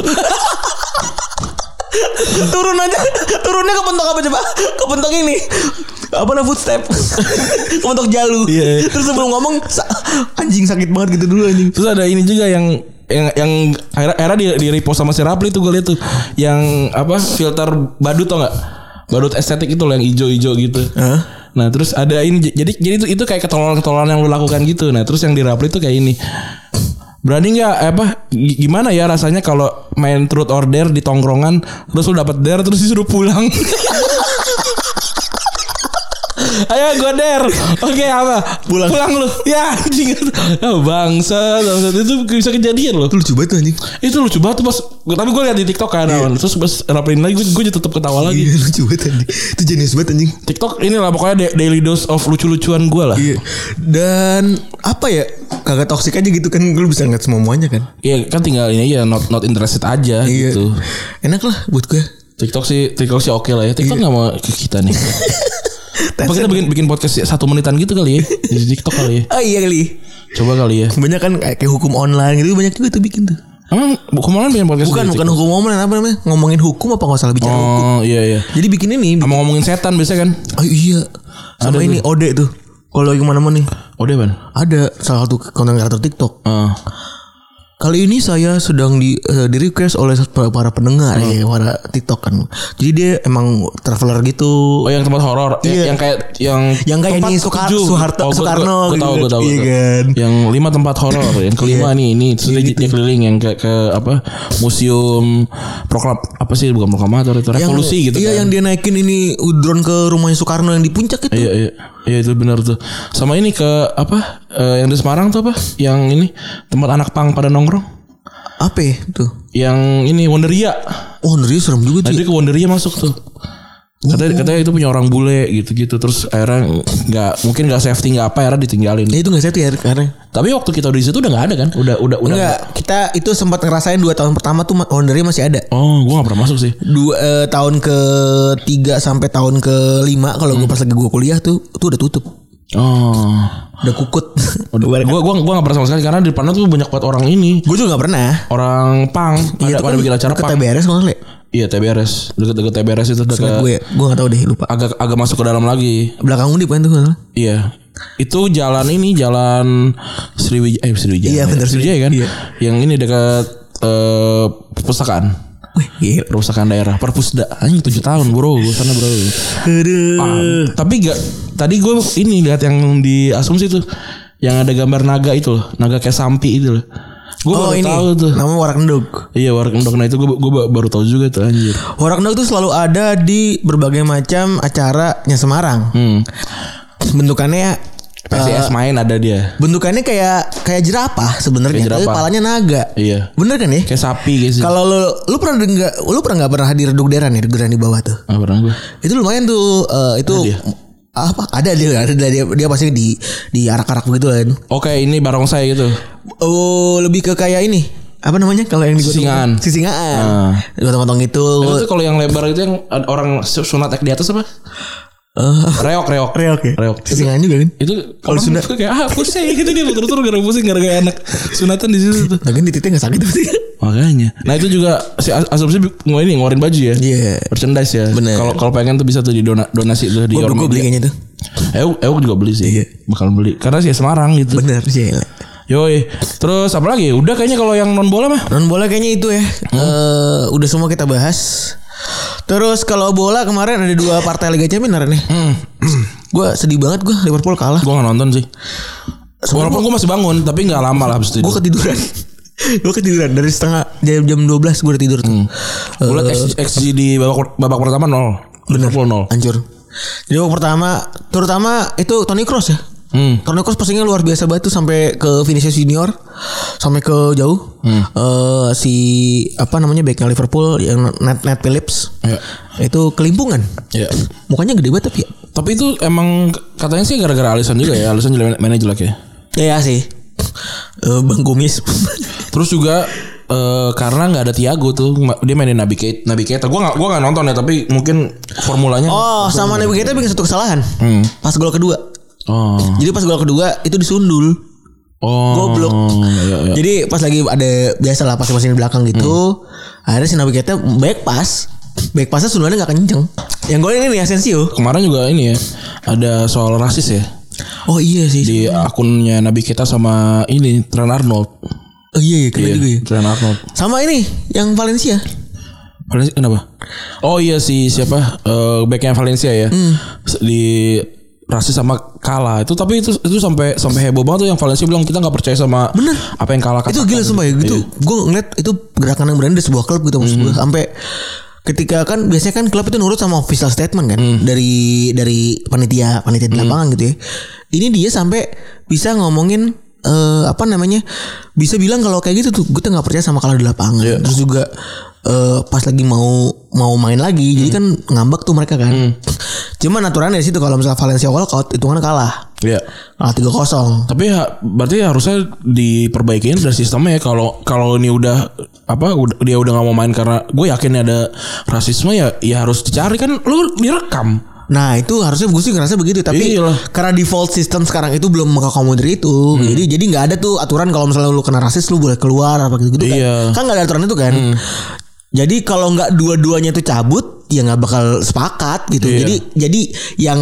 S3: Turun aja Turunnya ke pentok apa coba Ke pentok ini apa namanya *laughs* footstep ke pentok jalu
S2: Iya, iya.
S3: terus sebelum ngomong sa- anjing sakit banget gitu dulu anjing
S2: Terus ada ini juga yang yang yang akhirnya, akhirnya di, di repost sama si Rapli tuh gue liat tuh yang apa filter badut tau nggak badut estetik itu loh yang ijo-ijo gitu
S3: Hah?
S2: nah terus ada ini j- jadi jadi itu itu kayak ketololan-ketololan yang lu lakukan gitu nah terus yang di Rapli tuh kayak ini berani nggak eh, apa gi- gimana ya rasanya kalau main truth or dare di tongkrongan terus lu dapat dare terus disuruh
S3: *laughs*
S2: pulang Ayo gue dare Oke apa
S3: Pulang.
S2: Pulang lu Ya anjing oh, Bangsa bangsa. Itu bisa kejadian loh
S3: Itu lucu banget tuh anjing
S2: Itu lucu banget tuh pas Tapi gue liat di tiktok kan Awan. Terus pas rapelin lagi Gue jadi tetep ketawa lagi
S3: Iya, lucu banget anjing itu jenius banget anjing
S2: TikTok inilah pokoknya da- daily dose of lucu-lucuan gue lah.
S3: Iya. Dan apa ya? Kagak toksik aja gitu kan lu bisa ngeliat semua muanya kan. Iya.
S2: Iya kan tinggal ini ya not not interested aja
S3: Nah,
S2: gitu.
S3: Enak lah buat gue.
S2: TikTok sih TikTok sih oke lah ya.
S3: Iya.
S2: TikTok nggak mau ke kita
S3: *laughs*
S2: nih. Apa kita bikin bikin podcast satu menitan gitu kali ya di TikTok kali ya.
S3: Oh iya kali.
S2: Coba kali ya.
S3: Banyak kan kayak, kayak hukum online gitu banyak juga tuh bikin tuh.
S2: Emang Bu Kumalan bikin podcast di
S3: Bukan bukan
S2: TikTok?
S3: hukum online apa namanya? Ngomongin hukum apa nggak salah bicara hukum.
S2: Iya, Oh iya iya.
S3: Jadi bikin ini.
S2: Sama ngomongin setan biasa kan?
S3: Oh iya. Sama ini Ode tuh. Kalau yang mana-mana nih.
S2: Oh deh ban.
S3: Ada salah satu konten kreator TikTok.
S2: Ah.
S3: Kali ini saya sedang di, eh, di request oleh para, para pendengar
S2: Hmm.
S3: ya, para TikTok kan. Jadi dia emang traveler gitu.
S2: Oh yang tempat horor, Ya,
S3: Iya.
S2: yang kayak yang
S3: Yang kayak
S2: tempat
S3: ini Soekar-
S2: ketujuh.
S3: Soeharto-
S2: gua- gua,
S3: Soekarno
S2: gua tahu,
S3: gitu.
S2: gua tahu. gua
S3: Iya
S2: tahu.
S3: kan? Iya. gitu.
S2: Yang lima tempat horor, yang kelima nih ini terus dia- dia keliling yang kayak ke apa museum proklam apa sih bukan proklamator itu
S3: yang,
S2: revolusi gitu
S3: Iya
S2: kan.
S3: yang dia naikin ini uh, drone ke rumahnya Soekarno yang di puncak itu.
S2: Iya, iya, iya itu benar tuh. Sama ini ke apa? eh, yang di Semarang tuh apa? Yang ini tempat anak pang pada nongkrong.
S3: Apa ya tuh?
S2: Yang ini Wonderia.
S3: Oh ngeri serem juga
S2: Nah,
S3: tuh.
S2: dia ke Wonderia masuk tuh.
S3: Oh.
S2: Katanya, katanya itu punya orang bule gitu-gitu terus akhirnya nggak mungkin nggak safety nggak apa akhirnya ditinggalin.
S3: Ya itu gak safety ya karena
S2: Tapi waktu kita di situ udah nggak ada kan? Udah udah udah.
S3: Enggak kita itu sempat ngerasain 2 tahun pertama tuh Wondery masih ada
S2: Oh, gua nggak pernah masuk sih.
S3: dua eh, tahun ke tiga sampai tahun ke lima kalau
S2: Hmm.
S3: gue pas lagi gue kuliah tuh tuh udah tutup
S2: Oh.
S3: udah
S2: *laughs*
S3: kukut
S2: Gua gua gua nggak pernah sama sekali karena di depannya tuh banyak banget orang ini.
S3: gue juga gak pernah
S2: Orang pang ada
S3: Iya,
S2: pada bikin acara
S3: ke
S2: pang.
S3: TBRS kalau nggak salah ya?
S2: Iya, TBRS. Deket-deket TBRS itu
S3: Ingat
S2: dekat
S3: gue gue gak ya. tahu deh lupa
S2: agak agak masuk ke dalam lagi.
S3: belakang undip kan tuh nggak salah.
S2: Iya. Itu jalan ini jalan Sriwijaya eh Sriwijaya.
S3: Iya, bener,
S2: Sriwijaya kan?
S3: Iya.
S2: Yang ini dekat eh perpustakaan.
S3: Wih, gila.
S2: Perpustakaan daerah, perpusda. Anjing 7 tahun, Bro. Gua sana, Bro.
S3: Aduh.
S2: Ah, tapi gak tadi gue ini lihat yang di asumsi tuh yang ada gambar naga itu loh naga kayak sampi itu loh Gue
S3: oh
S2: baru
S3: ini
S2: tahu tuh.
S3: namanya warak endog.
S2: Iya warak endog nah itu gue gue baru tahu juga tuh anjir.
S3: Warak endog tuh selalu ada di berbagai macam acaranya Semarang.
S2: Hmm.
S3: Bentukannya Eh.
S2: PCS main ada dia.
S3: bentukannya kayak kayak jerapah sebenarnya,
S2: Kayak
S3: tapi
S2: jerapah.
S3: palanya naga.
S2: Iya.
S3: Bener kan ya?
S2: Kayak sapi gitu guys.
S3: Kalau lu lu pernah enggak lu pernah nggak pernah hadir dugderan ya dugderan di bawah tuh?
S2: Ah, pernah gue.
S3: Itu lumayan tuh eh, itu
S2: dia?
S3: apa ada dia ada dia, dia pasti di di arak-arak begitu kan.
S2: Oke ini barongsai gitu.
S3: Oh, lebih ke kayak ini. Apa namanya kalau yang digotong?
S2: Sisingaan.
S3: Sisingaan.
S2: Ah.
S3: Gotong-gotong gitu. itu.
S2: Itu tuh kalau yang lebar itu yang ada orang sunat di atas apa?
S3: Eh,
S2: Reok reok.
S3: reok ya.
S2: Reok.
S3: Sisingaan juga kan.
S2: Itu
S3: Kalau
S2: orang
S3: sunat.
S2: tuh kayak ah pusing *laughs* gitu dia betul-betul gara pusing gara-gara anak sunatan di situ tuh.
S3: Lagian di titiknya nggak sakit pasti.
S2: Makanya. Nah itu juga si as- asumsi bi- ngeluarin ini ngeluarin baju ya.
S3: *laughs* Iya.
S2: Merchandise ya.
S3: Bener.
S2: Kalau kalau pengen tuh bisa tuh didona donasi tuh di
S3: Gue
S2: Ormedia.
S3: gue beli kayaknya tuh.
S2: Euk, Euk juga beli sih.
S3: Iya.
S2: Bakal beli. Karena sih Semarang gitu.
S3: Bener sih. Ele.
S2: Yoi. Terus apa lagi? Udah kayaknya kalau yang non bola mah.
S3: Non bola kayaknya itu ya. Eh, udah semua kita bahas. Terus kalau bola kemarin ada dua partai Liga Champions Ren, ya. *clears throat* gue sedih banget gue Liverpool kalah.
S2: Gue gak nonton sih. Walaupun gue masih bangun, tapi nggak lama lah habis itu.
S3: Gue ketiduran. *laughs* gue ketiduran dari setengah jam jam 12 gue udah tidur tuh. Eh,
S2: Gue liat X- XG di babak babak pertama nol. Liverpool nol.
S3: hancur. Jadi babak pertama terutama itu Toni Kroos ya.
S2: Hmm.
S3: Toni Kroos passingnya luar biasa banget tuh sampai ke finishnya senior sampai ke jauh. Eh si apa namanya backnya Liverpool yang Nat Nat Phillips.
S2: Iya.
S3: Itu kelimpungan.
S2: Iya.
S3: Mukanya gede banget tapi ya.
S2: Tapi itu emang katanya sih gara-gara Alisson juga ya. Alisson jelek mainnya jelek ya.
S3: Ya, ya sih. Eh Bang Kumis.
S2: Terus juga eh, karena nggak ada Thiago tuh ma- dia mainin Nabi Kate Nabi Keita gue nggak gua nggak nonton ya tapi mungkin formulanya
S3: *laughs* oh, sama Nabi kita bikin satu kesalahan. Pas gol kedua.
S2: oh
S3: Jadi pas gol kedua itu disundul.
S2: oh
S3: Goblok.
S2: iya, iya.
S3: Jadi pas lagi ada biasa lah pas masih di belakang gitu, akhirnya si Nabikete back pass, back passnya sundulannya nggak kenceng. Yang gol ini nih Asensio.
S2: kemarin juga ini ya ada soal rasis ya
S3: Oh iya sih.
S2: di akunnya Nabi Keita sama ini Trent Arnold
S3: oh iya, iya kena juga ya.
S2: Trent Arnold
S3: Sama ini yang Valencia.
S2: Valencia kenapa oh iya si siapa Eh, backnya Valencia ya
S3: Hmm.
S2: di rasis sama Kala itu tapi itu itu sampai sampai heboh banget tuh yang Valencia bilang kita nggak percaya sama apa yang Kala
S3: Itu
S2: katakan
S3: gila sumpah ya gitu. Gue ngeliat itu gerakan yang berani dari sebuah klub gitu maksud gue sampai ketika kan biasanya kan klub itu nurut sama official statement kan dari dari panitia panitia di lapangan gitu ya. Ini dia sampai bisa ngomongin eh, apa namanya bisa bilang kalau kayak gitu tuh gue tuh nggak percaya sama kalau di lapangan. Terus juga eh, pas lagi mau mau main lagi jadi kan ngambek tuh mereka kan. Cuman aturannya di situ kalau misalnya Valencia walkout hitungannya kalah.
S2: Iya.
S3: Kalah 3-0.
S2: Tapi ha, berarti harusnya diperbaikin dari sistemnya ya kalau kalau ini udah apa ud- dia udah nggak mau main karena gue yakin ada rasisme ya ya harus dicari kan lu direkam.
S3: Nah itu harusnya gue sih ngerasa begitu tapi
S2: Iyalah. Hmm.
S3: karena default sistem sekarang itu belum mengakomodir itu jadi jadi nggak ada tuh aturan kalau misalnya lu kena rasis lu boleh keluar apa gitu gitu
S2: Iya. Hmm.
S3: kan kan nggak ada aturan itu kan jadi kalau nggak dua-duanya itu cabut ya nggak bakal sepakat gitu
S2: Iya.
S3: jadi jadi yang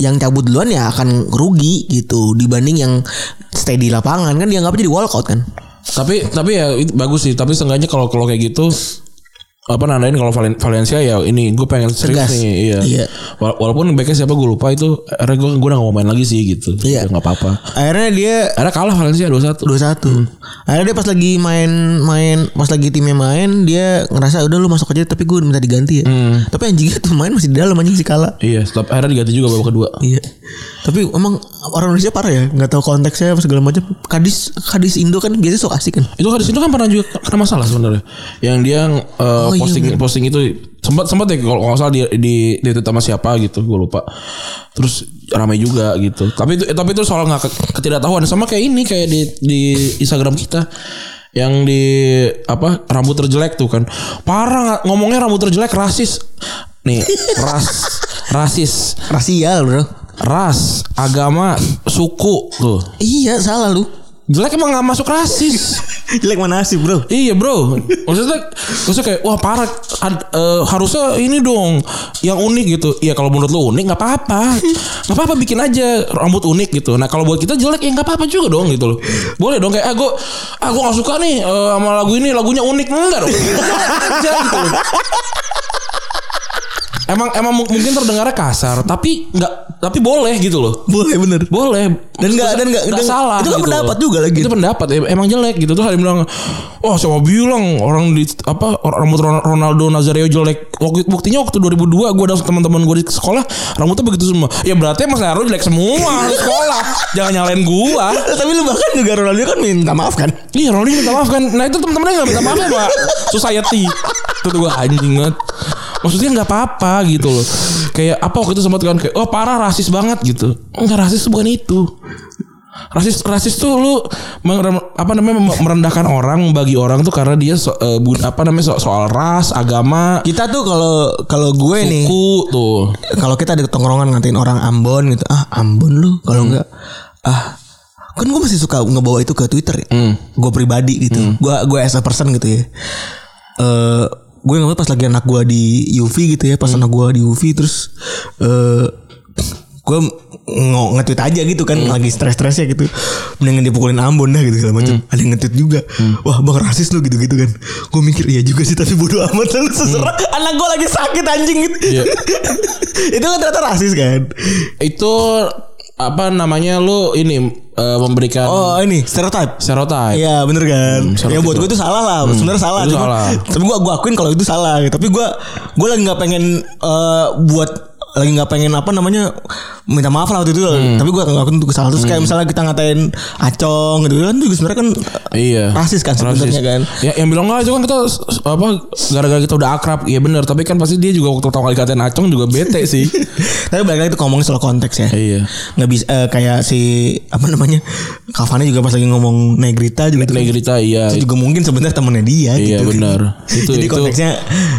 S3: yang cabut duluan ya akan rugi gitu dibanding yang stay di lapangan kan dianggap jadi walkout kan
S2: Tapi tapi ya itu bagus sih, tapi seenggaknya kalau kalau kayak gitu apa nandain kalau Valen- Valencia ya ini gue pengen serius
S3: Tegas.
S2: nih iya.
S3: Iya.
S2: Wala- Walaupun backnya siapa gue lupa itu akhirnya gue gue udah gak mau main lagi sih gitu. Ya,
S3: Iya.
S2: nggak apa-apa.
S3: akhirnya dia
S2: Akhirnya kalah Valencia 2-1.
S3: dua satu akhirnya dia pas lagi main main pas lagi timnya main dia ngerasa udah lu masuk aja tapi gue minta diganti ya tapi anjingnya tuh main masih di dalam anjing si kala
S2: Iya, stop akhirnya diganti juga babak kedua.
S3: iya tapi emang orang Indonesia parah ya nggak tahu konteksnya apa segala macam kadis kadis Indo kan biasanya sok asik kan
S2: Itu Haris itu kan pernah juga kena masalah sebenarnya. Yang dia uh,
S3: iya,
S2: posting posting itu sempat sempat ya kalau nggak salah di di di tweet sama siapa gitu, gue lupa. Terus ramai juga gitu. Tapi itu tapi itu soal nggak ke- ketidaktahuan sama kayak ini kayak di di Instagram kita yang di apa rambut terjelek tuh kan parah nggak- ngomongnya rambut terjelek rasis nih ras rasis
S3: rasial bro
S2: ras agama suku tuh
S3: iya salah lu
S2: jelek emang nggak masuk rasis
S3: *laughs* jelek mana sih bro
S2: Iya bro, maksudnya maksudnya kayak wah parah Ad- eh, harusnya ini dong yang unik gitu. Iya kalau menurut lu unik nggak apa-apa, nggak apa-apa bikin aja rambut unik gitu. Nah kalau buat kita jelek ya nggak apa-apa juga dong gitu loh. Boleh dong kayak ah gue ah gue nggak suka nih eh, sama *laughs* lagu ini lagunya unik enggak dong. Aja gitu loh. emang emang mu- mungkin terdengarnya kasar tapi nggak tapi boleh gitu loh
S3: Boleh bener.
S2: boleh
S3: Dan nggak- dan nggak- dan-
S2: salah gitu.
S3: itu kan pendapat juga lagi.
S2: itu pendapat em- emang jelek gitu terus ada yang bilang oh sama bilang orang di apa or- rambut Ron- Ronaldo Nazario jelek Waktu- buktinya waktu 2002 gue ada teman-teman gue di sekolah rambutnya begitu semua ya berarti Mas Nazario jelek semua di
S3: *laughs*
S2: sekolah jangan nyalain gua
S3: Tapi lu bahkan juga Ronaldo kan minta maaf kan?
S2: Iya Ronaldo minta maaf kan Nah itu temen-temennya gak minta maaf sama Society Itu tuh gue anjing banget Maksudnya gak apa-apa gitu loh Kayak apa waktu itu sempat kan Kayak oh parah rasis banget gitu Enggak rasis bukan itu Rasis rasis tuh lu meng- apa namanya mem- merendahkan orang bagi orang tuh karena dia so- eh, bun- apa namanya so- soal ras, agama,
S3: Kita tuh kalau kalau gue nih
S2: suku tuh.
S3: kalau kita di tongkrongan ngatain orang Ambon gitu ah Ambon lu kalau enggak ah kan gue masih suka ngebawa itu ke Twitter ya gue pribadi gitu gue gue as a person gitu ya Eh gue nggak pas lagi anak gue di UV gitu ya pas anak gue di UV terus eh gue nge- nge-tweet aja gitu kan lagi stres-stresnya gitu mendingan dipukulin Ambon dah gitu segala macam ada yang nge-tweet juga wah bang rasis lu gitu-gitu kan gue mikir iya juga sih tapi bodoh amat lu seserah anak gue lagi sakit anjing gitu
S2: Iya.
S3: *laughs* itu kan ternyata rasis kan
S2: Itu apa namanya lu ini eh, memberikan
S3: oh ini stereotype
S2: stereotype.
S3: Iya bener kan
S2: Hmm,
S3: Ya buat gue itu salah lah Sebenarnya salah
S2: gitu. Itu
S3: cuma-
S2: salah.
S3: Tapi gue gua akuin kalau itu salah gitu. Tapi gue Gue lagi gak pengen eh, Buat Lagi gak pengen apa namanya Minta maaf lah waktu itu
S2: Hmm.
S3: Tapi gue ngakuin itu salah Terus kayak misalnya kita ngatain Acong gitu kan Itu sebenarnya kan *laughs*
S2: Iya.
S3: Rasis kan sebenarnya
S2: Rasis.
S3: kan
S2: Ya, yang bilang enggak itu kan kita s- s- apa gara-gara kita udah akrab. Iya benar, tapi kan pasti dia juga waktu pertama kali katain Acong juga bete
S3: *laughs*
S2: sih.
S3: Tapi balik lagi itu ngomongin soal konteks ya
S2: Iya.
S3: nggak bisa eh, kayak si apa namanya Cavani juga pas lagi ngomong Negrita juga tuh kan.
S2: Negrita iya.
S3: itu juga mungkin sebenarnya temennya dia gitu.
S2: Iya, benar. Itu-
S3: jadi
S2: itu
S3: konteksnya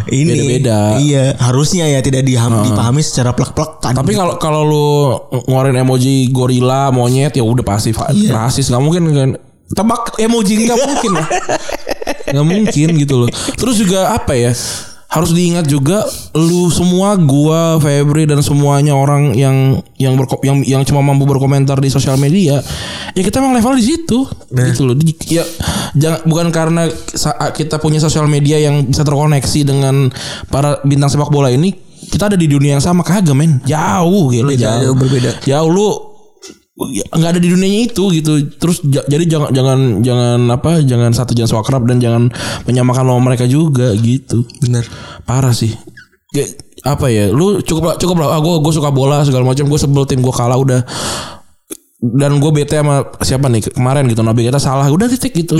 S3: ini
S2: beda-beda. Ah.
S3: iya harusnya ya tidak diham- dipahami secara plek-plekan
S2: Tapi kalau kalau lu ngeluarin emoji gorila, monyet ya udah pasti fa-
S3: Iya.
S2: rasis, nggak mungkin kan. Tebak emoji nggak mungkin lah.
S3: *laughs*
S2: Nggak mungkin gitu loh. Terus juga apa ya? Harus diingat juga lu semua gua, Febri dan semuanya orang yang yang berko- yang yang cuma mampu berkomentar di sosial media, ya kita emang level di situ.
S3: Nah.
S2: Gitu loh. Di- Ya jangan bukan karena sa- kita punya sosial media yang bisa terkoneksi dengan para bintang sepak bola ini kita ada di dunia yang sama kagak men jauh gitu
S3: Beda, jauh berbeda.
S2: jauh lu ya, nggak ada di dunianya itu gitu terus ja- jadi jangan jangan jangan apa jangan satu jangan so akrab dan jangan menyamakan lo sama mereka juga gitu
S3: bener
S2: parah sih Ya, apa ya lu cukup lah- cukup lah ah, gue suka bola segala macam gue sebel tim gue kalah udah dan gue bete sama siapa nih kemarin gitu Nabi kita salah udah titik gitu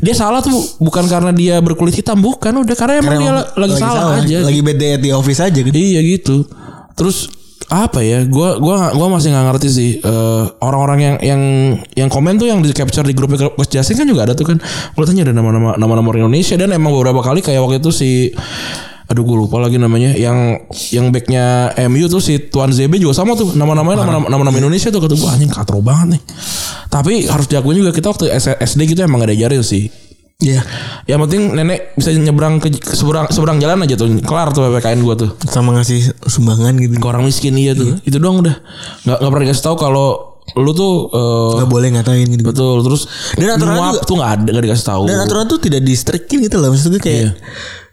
S2: dia salah tuh bukan karena dia berkulit hitam bukan udah karena emang dia la- lagi, salah, aja
S3: lagi bad day at the office aja gitu
S2: Iya gitu. Terus apa ya? Gua gua gua masih nggak ngerti sih eh, orang-orang yang yang yang komen tuh yang di capture di grupnya Coach Justin kan juga ada tuh kan. Gue tanya ada nama-nama nama-nama orang Indonesia dan emang beberapa kali kayak waktu itu si aduh gue lupa lagi namanya yang yang backnya MU tuh si Tuan ZB juga sama tuh nama-namanya nama-nama nama-nama Indonesia tuh kata gue anjing katro banget nih tapi harus diakuin juga kita waktu SD gitu emang gak diajarin sih
S3: iya
S2: yang penting nenek bisa nyebrang ke ke seberang seberang jalan aja tuh kelar tuh PPKN gue tuh
S3: sama ngasih sumbangan gitu
S2: ke orang miskin iya tuh itu doang udah nggak nggak pernah dikasih tahu kalau lu tuh eh,
S3: nggak boleh ngatain gitu
S2: betul terus
S3: Dan aturannya
S2: nyuap
S3: juga-
S2: tuh nggak ada nggak dikasih tahu
S3: dan aturan tuh tidak di strikin gitu loh maksudnya kayak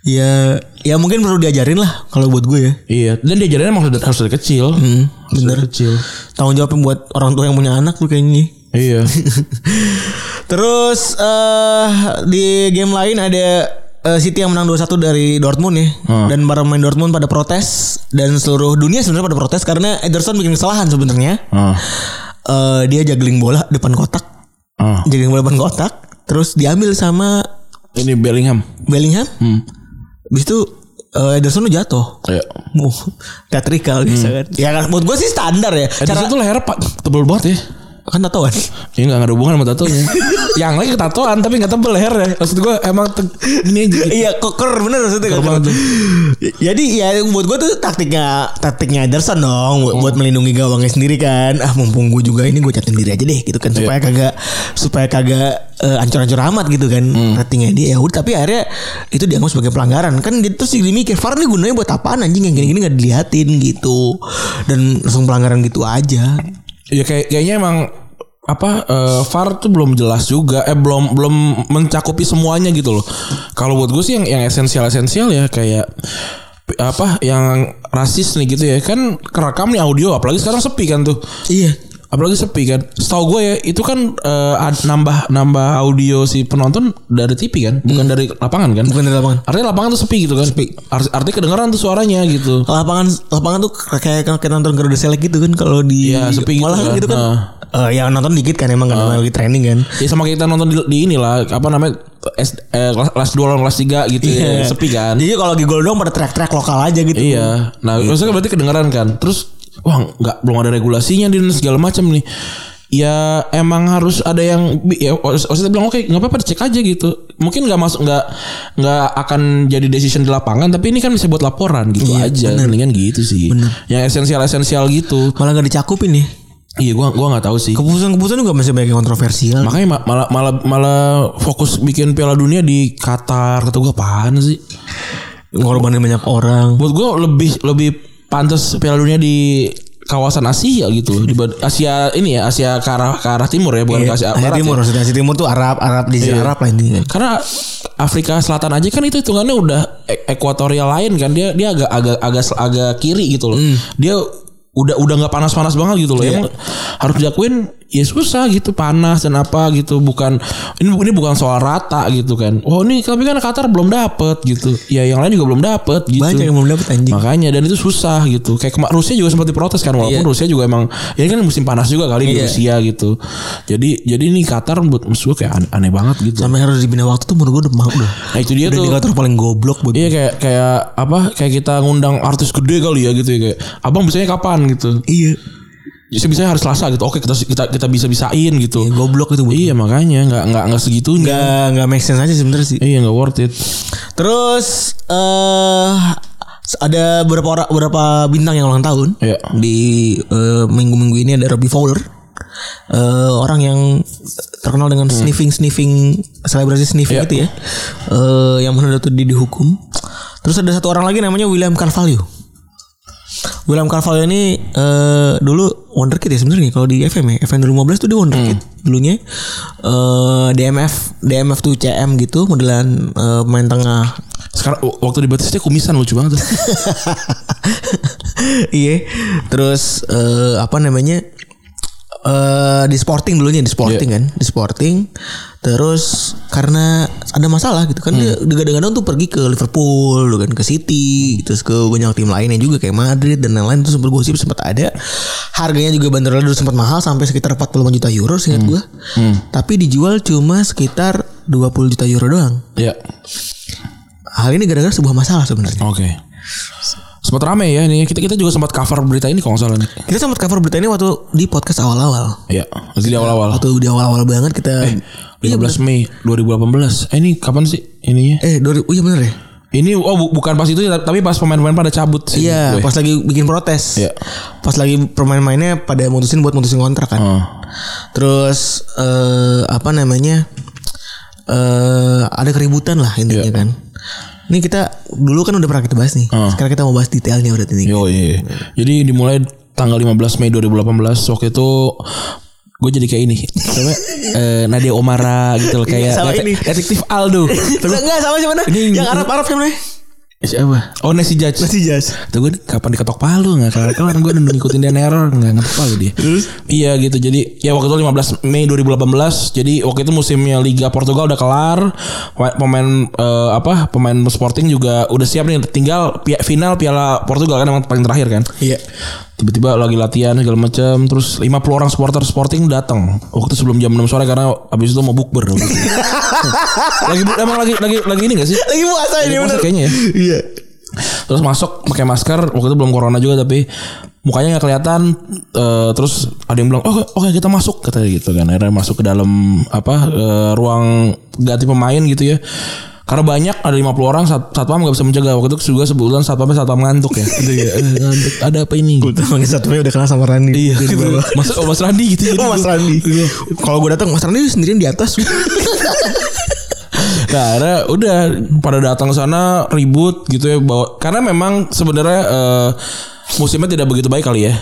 S3: ya ya mungkin perlu diajarin lah kalau buat gue ya
S2: iya dan diajarinnya emang harus dari- harus dari kecil Harus dari
S3: bener.
S2: kecil
S3: tanggung jawab buat orang tua yang punya anak tuh kayaknya
S2: iya
S3: Terus eh di game lain ada eh, City yang menang 2-1 dari Dortmund ya.
S2: Ah.
S3: Dan para pemain Dortmund pada protes dan seluruh dunia sebenarnya pada protes karena Ederson bikin kesalahan sebenarnya.
S2: ah
S3: Eh, dia juggling bola depan kotak.
S2: ah
S3: Juggling bola depan kotak, terus diambil sama
S2: ini Bellingham
S3: Bellingham.
S2: Hmm.
S3: Habis itu eh, Ederson tuh jatuh. Uh,
S2: Iya.
S3: Muh, teatrikal biasa kan. Ya kan menurut gue sih standar ya.
S2: Hmm. Ederson
S3: Cara
S2: tuh lehernya pak tebel banget ya
S3: kan tatoan.
S2: Ini gak ada hubungan sama tatonya Yang lagi ketatoan tapi gak tebel lehernya Maksud gue emang te- ini aja gitu.
S3: Iya koker bener maksudnya
S2: Koker
S3: koker.
S2: banget tuh.
S3: Jadi ya buat gue tuh taktiknya taktiknya Ederson dong buat,
S2: Oh.
S3: buat melindungi gawangnya sendiri kan. Ah mumpung gue juga ini gue catin diri aja deh gitu
S2: Iya.
S3: kan supaya kagak supaya kagak eh, ancur-ancur amat gitu kan
S2: Hmm.
S3: ratingnya dia. Ya udah tapi akhirnya itu dianggap sebagai pelanggaran kan dia terus jadi mikir VAR nih gunanya buat apaan anjing yang gini-gini nggak diliatin gitu dan langsung pelanggaran gitu aja.
S2: Ya kayak kayaknya emang apa eh, VAR tuh belum jelas juga eh belum belum mencakupi semuanya gitu loh. Kalau buat gue sih yang yang esensial esensial ya kayak apa yang rasis nih gitu ya kan kerekam nih audio apalagi sekarang sepi kan tuh
S3: Iya.
S2: apalagi sepi kan setahu gue ya itu kan eh, ad- nambah nambah audio si penonton dari TV kan bukan dari lapangan kan
S3: Bukan dari lapangan.
S2: artinya lapangan tuh sepi gitu kan sepi artinya kedengaran tuh suaranya gitu
S3: Lapangan lapangan tuh kayak kayak nonton Garuda Select gitu kan kalau di
S2: Iya, sepi gitu
S3: Malahan
S2: kan.
S3: gitu kan.
S2: Nah.
S3: Eh, yang nonton dikit kan emang kan emang lagi training kan.
S2: ya sama kayak kita nonton di, di inilah apa namanya S, eh, kelas, kelas 2 lawan kelas 3 gitu
S3: *laughs*
S2: ya
S3: Iya.
S2: sepi kan
S3: Jadi kalau lagi gol doang pada teriak-teriak lokal aja gitu.
S2: Iya. Nah, maksudnya berarti kedengaran kan. Terus wah nggak belum ada regulasinya di segala macam nih. Ya emang harus ada yang bi- ya Osis bilang oke nggak apa-apa dicek aja gitu. Mungkin nggak masuk nggak nggak akan jadi decision di lapangan tapi ini kan bisa buat laporan gitu aja. Mendingan gitu sih. Yang esensial-esensial gitu.
S3: Malah gak dicakupin nih.
S2: Iya gua gua nggak tahu sih.
S3: Keputusan-keputusan juga masih banyak yang kontroversial.
S2: Makanya ma- malah malah malah fokus bikin Piala Dunia di Qatar kata gua apaan sih?
S3: Ngorbanin banyak orang.
S2: buat gue lebih lebih pantas Piala Dunia di kawasan Asia gitu di Asia ini ya Asia ke arah ke arah timur ya bukan ke Asia, Barat ya.
S3: Iya, Asia,
S2: Iya. Gitu.
S3: Timur, maksudnya Asia Timur tuh Arab, Arab di Arab lah ini.
S2: Karena Afrika Selatan aja kan itu hitungannya udah e- ekuatorial lain kan dia dia agak agak agak sel- agak kiri gitu loh.
S3: Hmm.
S2: Dia udah udah nggak panas-panas banget gitu loh.
S3: Iya.
S2: Emang harus diakuin ya susah gitu panas dan apa gitu bukan ini ini bukan soal rata gitu kan. Oh ini tapi kan Qatar belum dapet gitu. Ya yang lain juga belum dapet gitu.
S3: Banyak yang belum dapet, anjing.
S2: Makanya dan itu susah gitu. Kayak kema- Rusia juga sempat diprotes kan walaupun Rusia juga emang ya kan musim panas juga kali di
S3: Iya.
S2: Rusia gitu. Jadi jadi nih Qatar buat musuh kayak an- aneh banget gitu.
S3: Sampai harus dibina waktu tuh menurut gue udah mau udah.
S2: Nah itu dia
S3: Udah
S2: tuh.
S3: indikator paling goblok buat
S2: Iya kayak kayak apa kayak kita ngundang artis gede kali ya gitu ya kayak abang bisanya kapan gitu.
S3: Iya.
S2: Jadi bisanya harus Selasa gitu. Oke kita kita kita bisa bisain gitu.
S3: Iya, goblok itu buat.
S2: Iya makanya nggak nggak nggak segitunya.
S3: Gak gak make sense aja sebenernya sih.
S2: Iya nggak worth it.
S3: Terus eh ada beberapa orang beberapa bintang yang ulang tahun
S2: Iya.
S3: di eh, minggu-minggu ini ada Robbie Fowler. Eh, orang yang terkenal dengan sniffing sniffing selebrasi
S2: Iya.
S3: sniffing itu ya. Eh, yang menurut dia dihukum. Terus ada satu orang lagi namanya William Carvalho. William Carvalho ini eh dulu wonderkid ya sebenarnya kalau di FM ya. FM 2015 tuh dia wonderkid dulunya. eh DMF DMF tuh CM gitu modelan eh, main tengah.
S2: Sekarang w- waktu di Betis dia kumisan lucu banget.
S3: *laughs*
S2: tuh.
S3: Iya. Terus eh apa namanya? eh di Sporting dulunya di Sporting kan, di Sporting. Terus karena ada masalah gitu kan dia digadang-gadang tuh pergi ke Liverpool, dulu kan ke City, terus ke banyak tim lainnya juga kayak Madrid dan lain-lain terus sempat gosip sempat ada. Harganya juga bandrolnya dulu sempat mahal sampai sekitar 45 juta euro seingat gua. Tapi dijual cuma sekitar 20 juta euro doang.
S2: Iya.
S3: Hal ini gara-gara sebuah masalah sebenarnya.
S2: Oke. Sempat rame ya ini kita kita juga sempat cover berita ini kalau nggak salah nih.
S3: Kita sempat cover berita ini waktu di podcast awal-awal.
S2: Iya. Jadi di awal-awal.
S3: Waktu di awal-awal banget kita
S2: 15 Mei 2018. Eh, ini kapan sih ininya?
S3: Iya, eh dua iya bener ya.
S2: Ini oh bu- bukan pas itu ya, tapi pas pemain-pemain pada cabut sih.
S3: Iya,
S2: Gue.
S3: pas lagi bikin protes.
S2: Iya.
S3: Pas lagi permain-mainnya pada mutusin buat mutusin kontrak kan.
S2: Oh.
S3: Terus eh apa namanya? Eh ada keributan lah intinya kan. Ini kita dulu kan udah pernah kita bahas nih. Sekarang kita mau bahas detailnya udah ini.
S2: Yo, iya. Jadi dimulai tanggal 15 Mei 2018 waktu itu gue jadi kayak ini. Namanya *laughs* eh, Nadia Omara gitu loh kayak
S3: Iya, sama ini.
S2: detektif
S3: *laughs*
S2: Aldo. Tapi
S3: Enggak sama siapa nih?
S2: Ini-
S3: Yang Arab-Arab siapa nih?
S2: siapa? Oh, Nancy Judge.
S3: Masih jas.
S2: Tuh gue kapan diketok palu nggak kelar kelar gue udah ngikutin dia error nggak ngetok palu dia. Iya gitu jadi ya waktu itu 15 Mei 2018 jadi waktu itu musimnya Liga Portugal udah kelar Wa- pemain eh, apa pemain Sporting juga udah siap nih tinggal pi- final Piala Portugal kan emang paling terakhir kan.
S3: Iya.
S2: Tiba-tiba lagi latihan segala macam terus 50 orang supporter Sporting datang waktu sebelum jam 6 sore karena abis itu mau bukber.
S3: *laughs*
S2: lagi bu- emang lagi lagi lagi ini gak sih?
S3: Lagi puasa ini
S2: Masa
S3: bener.
S2: kayaknya ya.
S3: Iya.
S2: Terus masuk pakai masker waktu itu belum corona juga tapi mukanya nggak kelihatan Eh, terus ada yang bilang "Oh, oke oke kita masuk kata dia gitu kan akhirnya masuk ke dalam apa eh, ruang ganti pemain gitu ya karena banyak ada 50 orang sat satpam nggak bisa mencegah waktu itu juga sebulan satpamnya satpam ngantuk
S3: *laughs*
S2: ya gitu ya Eh, ngantuk ada apa ini
S3: Gue tuh manggil satu udah kenal sama Rani.
S2: iya
S3: Jadi
S2: gitu.
S3: bawa-
S2: masuk oh, mas Randi gitu Jadi
S3: Oh Mas
S2: gua-
S3: Randi. Kalau gue datang Mas Randi sendirian di atas.
S2: Nah, akhirnya udah pada datang ke sana ribut gitu ya bawa karena memang sebenarnya eh, musimnya tidak begitu baik kali ya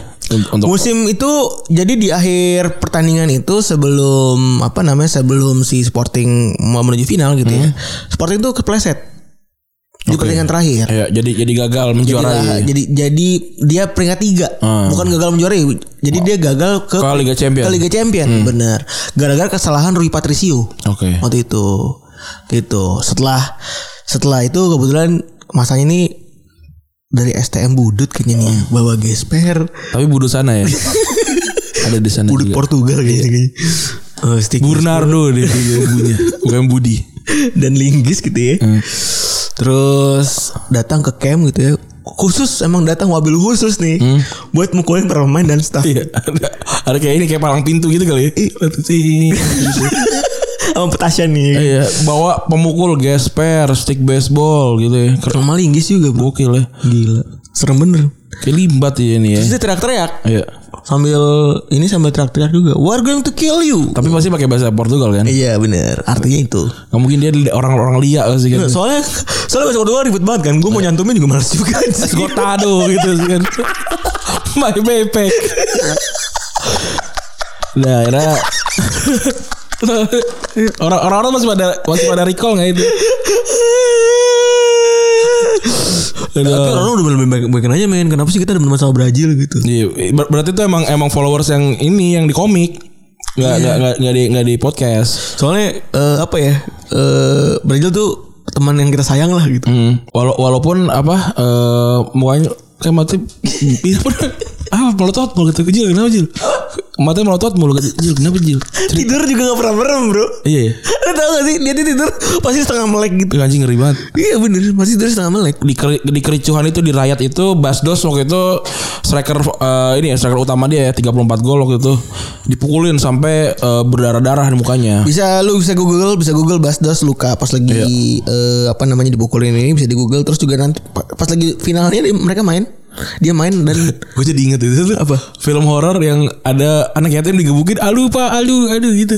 S2: untuk
S3: Musim itu jadi di akhir pertandingan itu sebelum apa
S2: Hmm.
S3: namanya sebelum si Sporting mau menuju final gitu ya. Sporting tuh kepleset. di pertandingan terakhir.
S2: Ya, jadi jadi gagal
S3: Jadi,
S2: menjuarai.
S3: jadi jadi dia peringkat tiga,
S2: Hmm.
S3: bukan gagal menjuarai. Jadi dia gagal ke,
S2: Ke Liga Champion. Hmm.
S3: Ke Liga Champion, bener. Gara-gara kesalahan Rui Patricio.
S2: Oke.
S3: Waktu itu, gitu. Setelah setelah itu kebetulan masanya ini dari STM Budut kayaknya nih, bawa gesper,
S2: Tapi budu
S3: *laughs*
S2: sana ya. Ada di sana
S3: Budut
S2: juga.
S3: Portugal kayaknya. Eh, stick
S2: Bernardo dia ibunya. Bukan Budi.
S3: *laughs* dan linggis gitu ya. Terus datang ke camp gitu ya. Khusus emang datang wabil khusus nih buat mukulin para pemain dan staff.
S2: Iya. Ada, ada kayak ini kayak palang pintu gitu kali. ya.
S3: *laughs* Sama petasian nih.
S2: Iya, bawa pemukul gesper, stick baseball gitu ya. Keren
S3: Sama linggis juga, Bro.
S2: gokil ya.
S3: Gila. Serem bener.
S2: Kayak limbat ya ini ya.
S3: Terus dia teriak-teriak
S2: Iya.
S3: sambil ini sambil teriak-teriak juga. We're going to kill you.
S2: Tapi pasti pakai bahasa Portugal kan?
S3: Iya bener Artinya itu
S2: Nggak mungkin dia orang-orang lia sih kan.
S3: Iya, Soalnya Soalnya bahasa Portugal ribet banget kan Gue mau nyantumin juga males juga *laughs*
S2: Gotado gitu sih kan. *laughs* My backpack. Nah, akhirnya *laughs* orang orang orang masih pada masih pada recall nggak itu?
S3: Tapi
S2: Aduh.
S3: orang udah lebih baik aja men Kenapa sih kita ada masalah Brazil gitu
S2: Iya, ber- berarti itu emang emang followers yang ini yang di komik. Nggak
S3: Iya.
S2: nggak nggak nggak di nggak di podcast.
S3: Soalnya eh, apa ya? Eh Brazil tuh teman yang kita sayang lah gitu.
S2: Hmm. Wala- walaupun apa eh mukanya kayak mati bisa pernah ah melotot mulu gitu kecil kenapa jil matanya melotot mulu gitu jil kenapa jil Cerita-
S3: Tidur juga gak pernah merem, Bro.
S2: iya ya.
S3: Lu tau gak sih dia tuh tidur pasti setengah melek gitu.
S2: Ih, anjing ngeri banget
S3: Iya bener, pasti tidur setengah melek.
S2: di, keri- di kericuhan itu di rakyat itu Basdos waktu itu striker eh, ini ya striker utama dia ya 34 gol waktu itu dipukulin sampai eh, berdarah-darah di mukanya
S3: Bisa lu bisa Google, bisa Google Basdos luka pas lagi eh, apa namanya dipukulin ini bisa di Google terus juga nanti pa- pas lagi finalnya dia- mereka main. Dia main *laughs* dan
S2: gue jadi inget itu tuh apa film horor yang ada anak yatim digebukin aduh pak aduh aduh gitu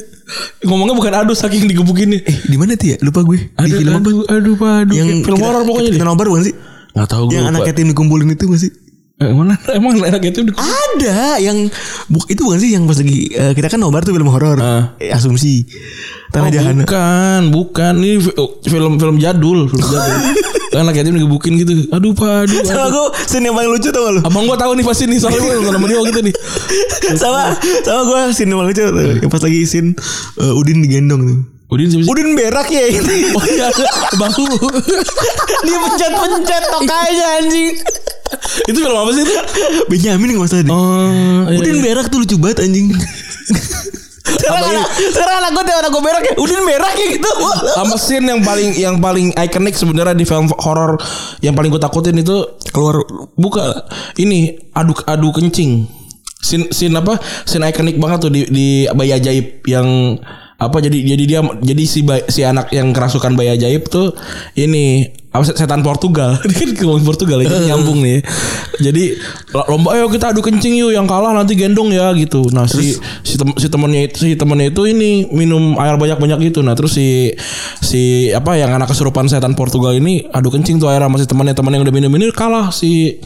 S2: ngomongnya bukan aduh saking digebukinnya
S3: di mana tuh ya? Lupa gue. di film apa?
S2: aduh, aduh, Pak, aduh,
S3: Yang
S2: film horor pokoknya
S3: deh.
S2: deh.
S3: Nobar bukan sih?
S2: Enggak tahu
S3: Yang
S2: lupa.
S3: anak yatim dikumpulin itu masih
S2: Eh, mana *laughs* emang anak itu di
S3: Ada yang bu- itu bukan sih yang pas lagi eh, kita kan nobar tuh film horor.
S2: Ah.
S3: Eh, Asumsi.
S2: Oh,
S3: Tanah Jahanam.
S2: bukan, bukan. Ini fi- oh, film film jadul, film
S3: *laughs*
S2: jadul. Yang anak yatim digebukin gitu. Aduh, Pak, aduh. aduh.
S3: Sama gue scene yang paling lucu tau gak lu?
S2: Abang gua tahu nih pasti nih soalnya gua nonton sama dia waktu itu nih.
S3: *laughs* sama sama gue scene yang paling lucu tau nggak? Yang pas lagi scene eh, Udin digendong tuh.
S2: Udin siapa sih?
S3: Udin berak ya ini.
S2: Oh iya, Bang.
S3: *laughs* Dia *laughs* pencet-pencet tokainya anjing.
S2: itu film apa sih itu?
S3: Benyamin gak masalah deh.
S2: Oh, iya, iya.
S3: Udin berak tuh lucu banget anjing. *laughs* Sekarang anak, sekarang anak gue anak gue berak ya. Udin berak ya gitu.
S2: sama scene yang paling yang paling ikonik sebenarnya di film horor yang paling gue takutin itu keluar buka ini aduk adu kencing scene scene apa scene ikonik banget tuh di di bayi ajaib yang apa jadi jadi dia jadi si bay- si anak yang kerasukan bayi ajaib tuh ini apa set- setan Portugal *laughs* ini kan ngomongin Portugal ya jadi nyambung nih jadi lo- lomba ayo kita adu kencing yuk yang kalah nanti gendong ya gitu nah si si, tem- si temennya itu si temennya itu ini minum air banyak banyak gitu nah terus si si apa yang anak kesurupan setan Portugal ini adu kencing tuh air sama si temannya temannya yang udah minum ini kalah si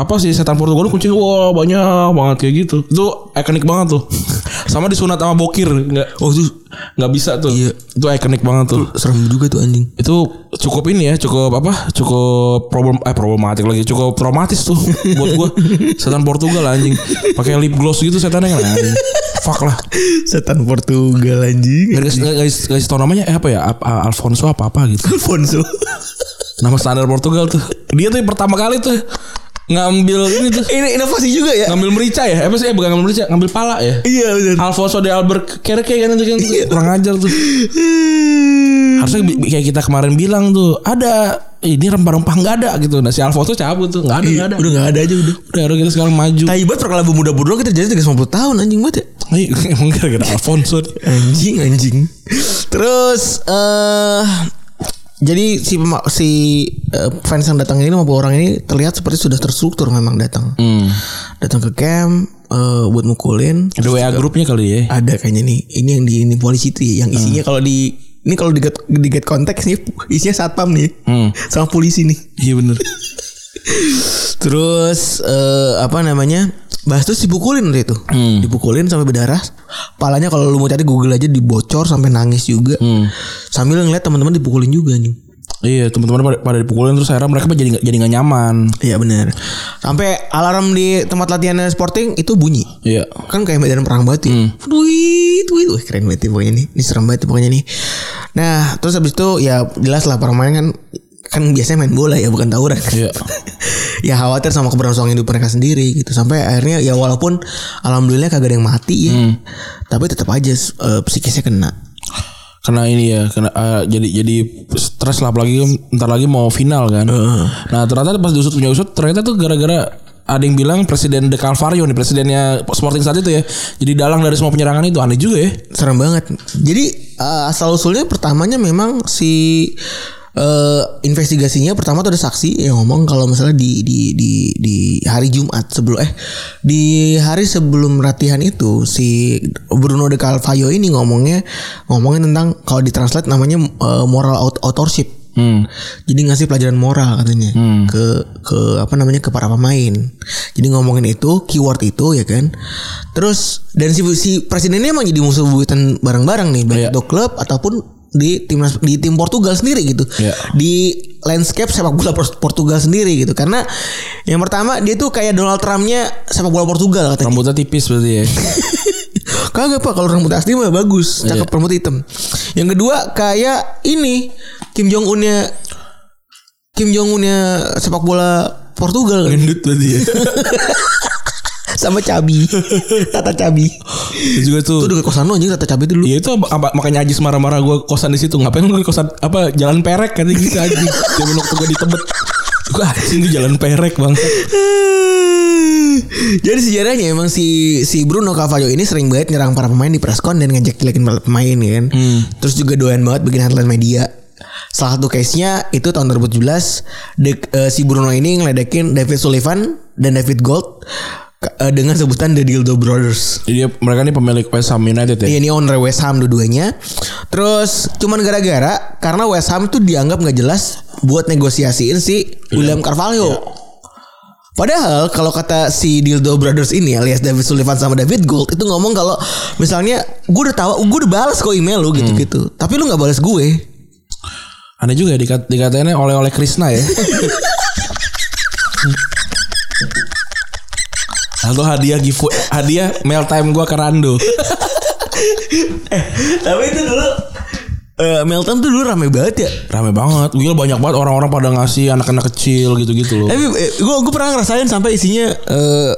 S2: apa si setan Portugal itu kencing wah banyak banget kayak gitu itu ikonik banget tuh *laughs* sama disunat sama bokir nggak
S3: Oh itu
S2: nggak bisa tuh
S3: Iya.
S2: itu ikonik banget tuh
S3: serem juga tuh anjing.
S2: itu cukup ini ya cukup apa cukup problem eh problematik lagi cukup traumatis tuh *laughs* buat gua setan Portugal anjing pakai lip gloss gitu setannya kan anjing. fuck lah
S3: Setan Portugal anjing.
S2: guys guys guys tau namanya eh apa ya Ap- A- Alfonso apa apa gitu
S3: Alfonso.
S2: nama standar Portugal tuh dia tuh yang pertama kali tuh ngambil ini tuh
S3: Ini inovasi juga ya.
S2: ngambil merica ya eh, apa sih eh, bukan ngambil merica ngambil pala ya
S3: Iya benar.
S2: Alfonso de Albuquerque kan itu kan
S3: Iya.
S2: kurang ajar tuh harusnya bi- kayak kita kemarin bilang tuh ada ini rempah-rempah nggak ada gitu nah si Alfonso cabut tuh nggak ada nggak ada
S3: Iya, Udah gak ada aja udah.
S2: udah harus kita sekarang maju
S3: Tai banget perkelabu muda bodoh kita jadi 350 tahun anjing banget ya.
S2: Ih, *laughs* emang gara-gara Alfonso nih.
S3: Anjing anjing. Terus eh jadi si pema- si eh, fans yang datang ini maupun orang ini terlihat seperti sudah terstruktur memang datang. Datang ke camp eh, buat mukulin.
S2: ada WA grupnya kali ya
S3: Ada kayaknya nih. Ini yang di ini polisi tuh ya, yang isinya kalau di ini kalau di get, di get konteks nih isinya satpam nih.
S2: Hmm.
S3: Sama polisi nih.
S2: iya bener
S3: Terus eh, apa namanya? Bastos dipukulin waktu itu. Dipukulin sampai berdarah. Palanya kalau lu mau cari Google aja dibocor sampai nangis juga. Sambil ngeliat teman-teman dipukulin juga nih.
S2: Iya teman-teman pada, pada dipukulin terus akhirnya mereka jadi nggak- jadi nggak nyaman.
S3: Iya benar. Sampai alarm di tempat latihan Sporting itu bunyi.
S2: Iya.
S3: Kan kayak medan perang banget ya. Duit, duit. Wah, keren banget ya pokoknya nih. Ini serem banget ya pokoknya nih. Nah, terus habis itu ya jelas lah para pemain kan kan biasanya main bola ya bukan tawuran.
S2: Iya.
S3: *laughs* ya khawatir sama keberlangsungan hidup mereka sendiri gitu. Sampai akhirnya ya walaupun alhamdulillah kagak ada yang mati ya. Tapi tetap aja eh, psikisnya kena.
S2: Karena ini ya, karena eh, jadi jadi stres lah apalagi kan ntar lagi mau final kan. Nah ternyata pas diusut punya usut ternyata tuh gara-gara ada yang bilang presiden De Calvario nih presidennya Sporting saat itu ya. Jadi dalang dari semua penyerangan itu aneh juga ya.
S3: Serem banget. Jadi eh, asal usulnya pertamanya memang si eh, investigasinya pertama tuh ada saksi yang ngomong kalau misalnya di di di di hari Jumat sebelum eh di hari sebelum latihan itu si Bruno de Carvalho ini ngomongnya ngomongin tentang kalau ditranslate namanya eh, moral aut- authorship.
S2: Hmm.
S3: Jadi ngasih pelajaran moral katanya ke ke apa namanya ke para pemain. Jadi ngomongin itu keyword itu ya kan. Terus dan si si presidennya emang jadi musuh bubuyutan bareng-bareng nih baik
S2: Iya.
S3: itu klub ataupun di timnas di tim Portugal sendiri gitu.
S2: Iya.
S3: Di landscape sepak bola Port- Portugal sendiri gitu. Karena yang pertama dia tuh kayak Donald Trumpnya sepak bola Portugal katanya.
S2: Rambutnya tipis berarti ya.
S3: Kagak pak kalau rambut asli mah bagus, cakep rambut hitam. Yang kedua kayak ini Kim Jong Unnya Kim Jong Unnya sepak bola Portugal kan?
S2: Gendut berarti *laughs* ya.
S3: sama *laughs* Cabi, Tata Cabi.
S2: Itu juga tuh.
S3: Itu dekat kosan lo anjing Tata Cabi dulu.
S2: Iya itu apa- apa- makanya Ajis marah-marah gue kosan di situ ngapain lu di kosan apa jalan perek kan gitu aja zaman waktu gue di Tebet gue anjing di jalan perek bang
S3: *laughs* Jadi sejarahnya emang si si Bruno Cavallo ini sering banget nyerang para pemain di presscon dan ngajak jelekin para pemain ya kan. Terus juga doyan banget bikin headline media. Salah satu case-nya itu tahun 2017 de- eh, si Bruno ini ngeledekin David Sullivan dan David Gold ke- eh, dengan sebutan The Dildo Brothers.
S2: jadi mereka ini pemilik West Ham United ya
S3: Iya ini owner West Ham dua-duanya. Terus cuman gara-gara karena West Ham tuh dianggap nggak jelas buat negosiasiin si William Carvalho. Padahal kalau kata si Dildo Brothers ini alias David Sullivan sama David Gold itu ngomong kalau misalnya gue udah tahu gue udah balas kok email lu gitu-gitu, tapi lu nggak balas gue.
S2: aneh juga ya dikat, dikatainnya oleh oleh Krishna ya *laughs* atau hadiah giveaway hadiah mail time gue ke Rando
S3: tapi itu dulu eh, Melton tuh dulu rame banget ya.
S2: rame banget gila banyak banget orang-orang pada ngasih anak-anak kecil gitu-gitu loh
S3: Tapi gue gue pernah ngerasain sampai isinya eh,